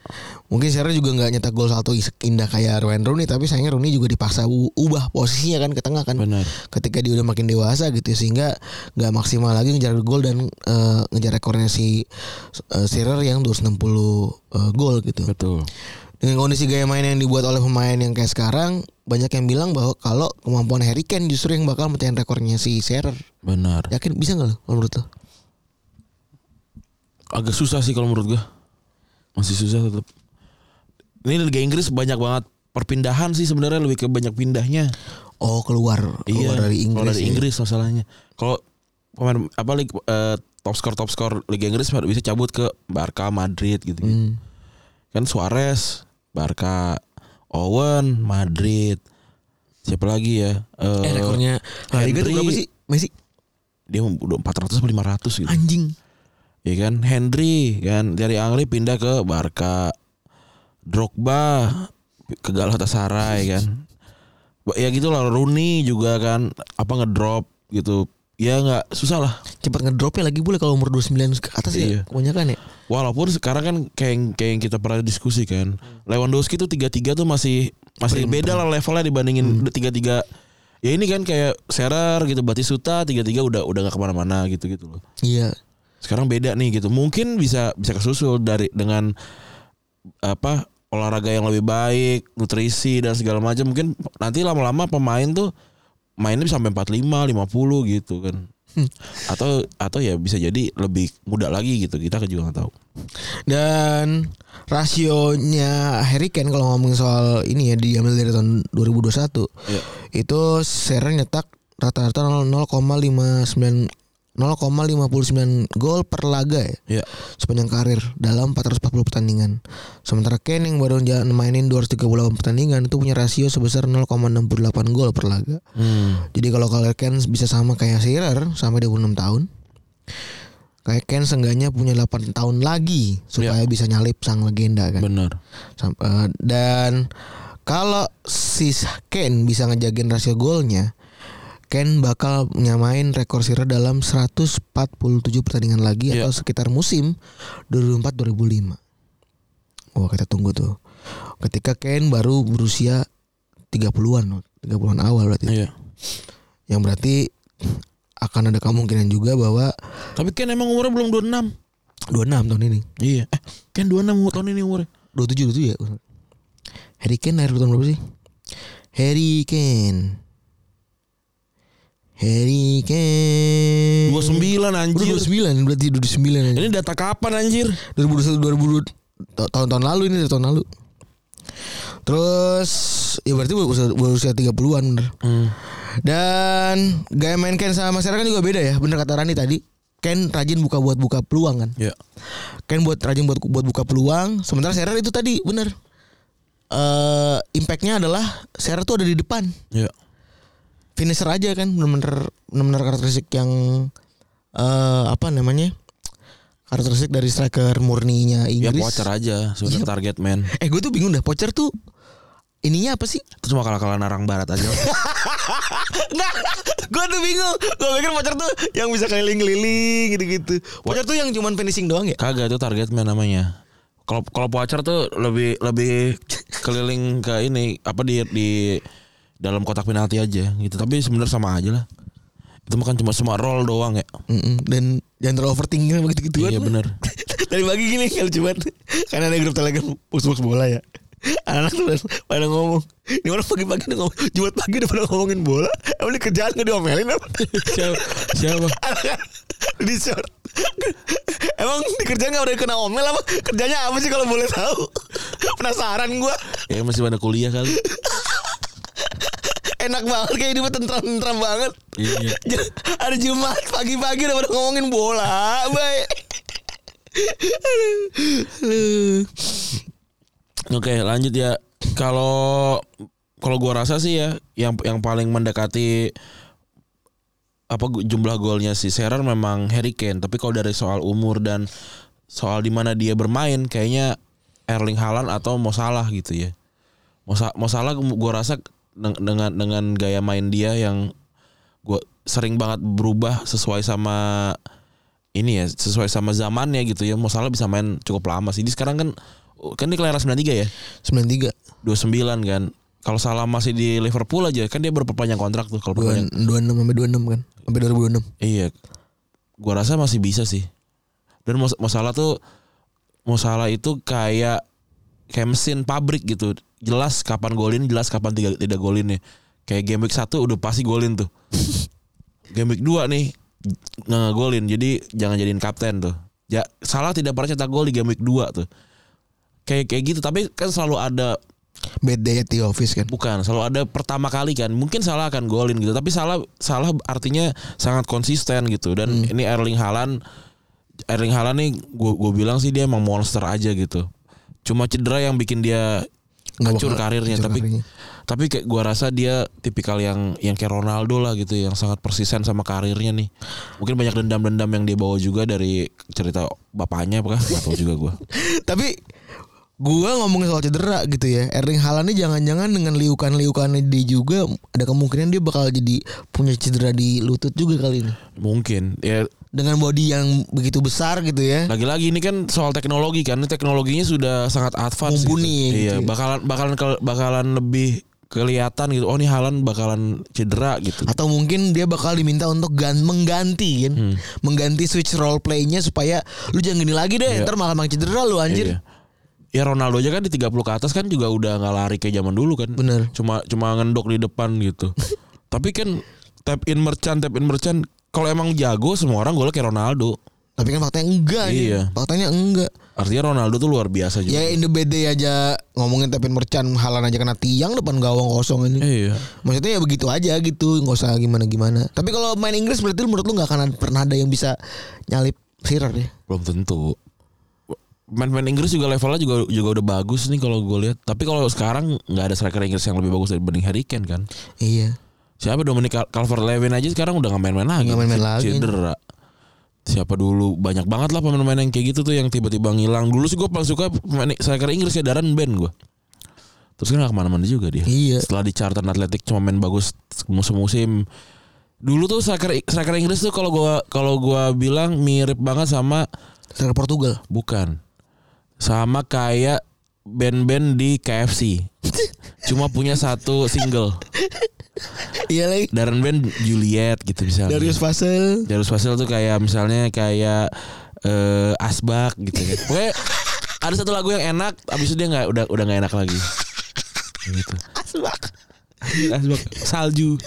Speaker 2: Mungkin Shearer juga nggak nyetak gol satu is- indah kayak Wayne Rooney. Tapi sayangnya Rooney juga dipaksa u- ubah posisinya kan ke tengah kan.
Speaker 3: Benar.
Speaker 2: Ketika dia udah makin dewasa gitu ya, sehingga nggak maksimal lagi ngejar gol dan eh, ngejar rekornya si eh, Shearer yang 260 eh, gol gitu
Speaker 3: Betul.
Speaker 2: dengan kondisi gaya main yang dibuat oleh pemain yang kayak sekarang banyak yang bilang bahwa kalau kemampuan Harry Kane justru yang bakal mecahin rekornya si Shearer
Speaker 3: Benar.
Speaker 2: yakin bisa nggak lo kalau menurut lo
Speaker 3: agak susah sih kalau menurut gua. Masih susah tetap. Ini Liga Inggris banyak banget perpindahan sih sebenarnya lebih ke banyak pindahnya. Iya.
Speaker 2: oh keluar keluar dari Inggris,
Speaker 3: Kalau dari
Speaker 2: ya.
Speaker 3: Inggris masalahnya. Kalau pemain apa lig- eh, top skor top skor Liga Inggris bisa cabut ke Barca, Madrid gitu.
Speaker 2: Hmm.
Speaker 3: Kan Suarez, Barca, Owen, Madrid. Siapa lagi ya?
Speaker 2: eh
Speaker 3: Eh,
Speaker 2: rekornya La Liga tuh
Speaker 3: Henry-
Speaker 2: berapa sih Messi
Speaker 3: Dia udah 400 apa 500 gitu.
Speaker 2: anjing
Speaker 3: Ya kan Henry kan dari Angli pindah ke Barca. Drogba ke Galatasaray kan. Ba- Ya gitulah Rooney juga kan apa ngedrop gitu. Ya nggak susah lah.
Speaker 2: cepat ngedropnya lagi boleh kalau umur 29 ke atas ya
Speaker 3: Iya.
Speaker 2: kebanyakan ya
Speaker 3: Walaupun sekarang kan kayak yang, kayak yang kita pernah diskusi kan. Lewandowski tuh 33 tuh masih masih beda lah levelnya dibandingin 33 Ya ini kan kayak Serer gitu Batisuta 33 udah udah nggak kemana mana gitu-gitu loh.
Speaker 2: iya
Speaker 3: sekarang beda nih gitu mungkin bisa bisa kesusul dari dengan apa olahraga yang lebih baik nutrisi dan segala macam mungkin nanti lama-lama pemain tuh mainnya bisa sampai 45 50 gitu kan atau atau ya bisa jadi lebih muda lagi gitu kita juga nggak tahu
Speaker 2: dan rasionya Harry Kane kalau ngomongin soal ini ya diambil dari tahun 2021
Speaker 3: Iya.
Speaker 2: itu Shearer nyetak rata-rata 0,59 0,59 gol per laga ya
Speaker 3: ya
Speaker 2: sepanjang karir dalam 440 pertandingan. Sementara Kane yang baru jalan mainin 238 pertandingan itu punya rasio sebesar 0,68 gol per laga.
Speaker 3: Hmm.
Speaker 2: Jadi kalau karir Kane bisa sama kayak Shearer sampai 26 tahun. Kayak Kane seenggaknya punya 8 tahun lagi supaya bisa nyalip sang legenda kan.
Speaker 3: benar
Speaker 2: Sam- eh, dan kalau si Ken bisa ngejagain rasio golnya, Ken bakal nyamain rekor Sira dalam 147 pertandingan lagi
Speaker 3: Iya.
Speaker 2: atau sekitar musim 2004-2005. Wah, kita tunggu tuh. Ketika Ken baru berusia 30-an, 30-an awal berarti.
Speaker 3: iya
Speaker 2: Yang berarti akan ada kemungkinan juga bahwa
Speaker 3: tapi Ken emang umurnya belum 26
Speaker 2: 26 tahun ini,
Speaker 3: iya eh Ken 26 umur tahun ini umurnya
Speaker 2: 27 27 ya. Harry Kane lahir tahun berapa sih? Harry Kane. Harry Kane.
Speaker 3: 29
Speaker 2: Udah
Speaker 3: anjir
Speaker 2: 29 berarti udah 29
Speaker 3: ini
Speaker 2: anjir.
Speaker 3: data kapan anjir
Speaker 2: 2021 2000 ta- tahun-tahun lalu ini dari tahun lalu. Terus ya berarti berusia, berusia 30-an bener.
Speaker 3: Hmm.
Speaker 2: Dan gaya main Ken sama Sarah kan juga beda ya. Bener kata Rani tadi. Ken rajin buka buat buka peluang kan.
Speaker 3: ya
Speaker 2: Ken buat rajin buat buat buka peluang. Sementara Serer itu tadi bener. Eh impactnya adalah Serer tuh ada di depan.
Speaker 3: ya
Speaker 2: Finisher aja kan bener-bener bener-bener karakteristik yang eh apa namanya karakteristik dari striker murninya
Speaker 3: ya
Speaker 2: Inggris.
Speaker 3: poacher aja sebenarnya target man
Speaker 2: eh gue tuh bingung dah pocher tuh ininya apa sih?
Speaker 3: Itu cuma kalah-kalah narang barat aja.
Speaker 2: Enggak, gue tuh bingung. Gue pikir pocher tuh yang bisa keliling-keliling gitu-gitu. Pocher tuh yang cuman finishing doang ya?
Speaker 3: Kagak itu targetnya namanya. Kalau kalau poacher tuh lebih lebih keliling ke ini apa di di dalam kotak penalti aja gitu. Tapi sebenarnya sama aja lah. Itu mah kan cuma cuma roll doang ya.
Speaker 2: Mm-mm. Dan jangan terlalu overthinking begitu gituan.
Speaker 3: Iya bener
Speaker 2: Tadi pagi gini kalau cuman karena ada grup telegram box bola ya. Anak-anak tuh pada ngomong Ini orang pagi-pagi udah ngomong Jumat pagi udah pada ngomongin bola Apa di kerjaan gak diomelin apa
Speaker 3: siapa? siapa?
Speaker 2: Anak-anak Di short Emang di kerjaan gak udah kena omel apa Kerjanya apa sih kalau boleh tahu Penasaran gua
Speaker 3: Ya masih pada kuliah kali.
Speaker 2: Enak banget kayak hidupnya tentram-tentram banget
Speaker 3: Iya.
Speaker 2: Ada Jumat pagi-pagi udah pada ngomongin bola Baik
Speaker 3: Oke, lanjut ya. Kalau kalau gua rasa sih ya yang yang paling mendekati apa gu- jumlah golnya si Serer memang Harry Kane, tapi kalau dari soal umur dan soal di mana dia bermain kayaknya Erling Haaland atau Mo Salah gitu ya. Mo, Sa- Mo Salah gua rasa deng- dengan dengan gaya main dia yang gua sering banget berubah sesuai sama ini ya sesuai sama zamannya gitu ya. Mo Salah bisa main cukup lama sih. Dia sekarang kan kan dia kelahiran 93 ya.
Speaker 2: 93
Speaker 3: 29 kan. Kalau salah masih di Liverpool aja kan dia berperpanjang kontrak tuh kalau perpanjang.
Speaker 2: 26 sampai 26 kan Sampai 2026
Speaker 3: Iya. Gua rasa masih bisa sih. Dan mas- masalah tuh masalah itu kayak kayak mesin pabrik gitu. Jelas kapan golin, jelas kapan tidak tidak golinnya. Kayak game week 1 udah pasti golin tuh. game week 2 nih nggak golin. Jadi jangan jadiin kapten tuh. Ja- salah tidak pernah cetak gol di game week 2 tuh. Kayak kayak gitu tapi kan selalu ada
Speaker 2: Bad day at the office kan
Speaker 3: Bukan, selalu ada pertama kali kan. Mungkin salah akan golin gitu, tapi salah salah artinya sangat konsisten gitu. Dan ini Erling Haaland Erling Haaland nih gue bilang sih dia emang monster aja gitu. Cuma cedera yang bikin dia
Speaker 2: Nggak
Speaker 3: hancur
Speaker 2: bakal-
Speaker 3: karirnya,
Speaker 2: hancur
Speaker 3: tapi
Speaker 2: karirnya.
Speaker 3: tapi kayak gua rasa dia tipikal yang yang kayak Ronaldo lah gitu, yang sangat persisten sama karirnya nih. Mungkin banyak dendam-dendam yang dia bawa juga dari cerita bapaknya apa Gak tahu juga gua.
Speaker 2: Tapi gua ngomongin soal cedera gitu ya. Erling Haaland ini jangan-jangan dengan liukan-liukannya dia juga ada kemungkinan dia bakal jadi punya cedera di lutut juga kali ini.
Speaker 3: Mungkin ya
Speaker 2: Dengan body yang begitu besar gitu ya.
Speaker 3: Lagi-lagi ini kan soal teknologi kan, Ini teknologinya sudah sangat advance.
Speaker 2: Mumpuni
Speaker 3: gitu.
Speaker 2: gitu
Speaker 3: Iya,
Speaker 2: ya.
Speaker 3: bakalan bakalan ke- bakalan lebih kelihatan gitu. Oh, nih Halan bakalan cedera gitu.
Speaker 2: Atau mungkin dia bakal diminta untuk gan mengganti kan.
Speaker 3: Hmm.
Speaker 2: Mengganti switch role play-nya supaya lu jangan gini lagi deh,
Speaker 3: Iya.
Speaker 2: ntar malah makin cedera lu anjir.
Speaker 3: Iya. Ya Ronaldo aja kan di 30 ke atas kan juga udah nggak lari kayak zaman dulu kan.
Speaker 2: Bener.
Speaker 3: Cuma cuma ngendok di depan gitu. Tapi kan tap in merchant, tap in merchant kalau emang jago semua orang golnya kayak Ronaldo.
Speaker 2: Tapi kan faktanya enggak anjir.
Speaker 3: Iya.
Speaker 2: Faktanya enggak.
Speaker 3: Artinya Ronaldo tuh luar biasa juga.
Speaker 2: Ya in the bad day aja ngomongin tapin mercan halan aja kena tiang depan gawang kosong ini.
Speaker 3: Iya.
Speaker 2: Maksudnya ya begitu aja gitu, nggak usah gimana-gimana. Tapi kalau main Inggris berarti menurut lu nggak akan ada- pernah ada yang bisa nyalip Sirer ya?
Speaker 3: Belum tentu. Main-main Inggris juga levelnya juga juga udah bagus nih kalau gue lihat. Tapi kalau sekarang nggak ada striker Inggris yang lebih bagus dibanding Harry Kane kan.
Speaker 2: Iya.
Speaker 3: Siapa Dominic Calvert-Lewin aja sekarang udah nggak main-main lagi.
Speaker 2: Nggak main-main
Speaker 3: C-
Speaker 2: lagi.
Speaker 3: Cedera. Siapa dulu banyak banget lah pemain-pemain yang kayak gitu tuh yang tiba-tiba ngilang. Dulu sih gue paling suka pemain striker Inggris ya Darren Ben gue. Terus kan gak kemana-mana juga dia.
Speaker 2: Iya.
Speaker 3: Setelah di Charlton Athletic cuma main bagus musim-musim. Dulu tuh striker striker Inggris tuh kalau gua kalau gua bilang mirip banget sama
Speaker 2: Sirer Portugal.
Speaker 3: Bukan. Sama kayak band-band di KFC. Cuma punya satu single.
Speaker 2: iya lagi.
Speaker 3: Darren Band Juliet gitu misalnya.
Speaker 2: Darius Fasel.
Speaker 3: Darius Fasil tuh kayak misalnya kayak eh, Asbak gitu kan. Pokoknya ada satu lagu yang enak, abis itu dia nggak udah udah nggak enak lagi. Gitu.
Speaker 2: Asbak.
Speaker 3: Asbak salju.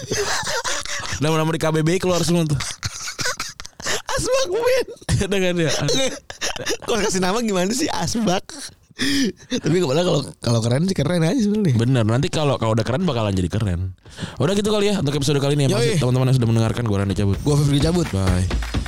Speaker 3: Nama-nama di KBBI keluar semua tuh.
Speaker 2: Asbak men.
Speaker 3: Ada kan ya?
Speaker 2: kalau kasih nama gimana sih Asbak? Tapi kepala kalau kalau keren sih keren aja sebenarnya.
Speaker 3: Bener nanti kalau kalau udah keren bakalan jadi keren. Udah gitu kali ya untuk episode kali ini ya. Makasih
Speaker 2: Yoi.
Speaker 3: teman-teman yang sudah mendengarkan gue Randy cabut.
Speaker 2: Gua Febri cabut.
Speaker 3: Bye.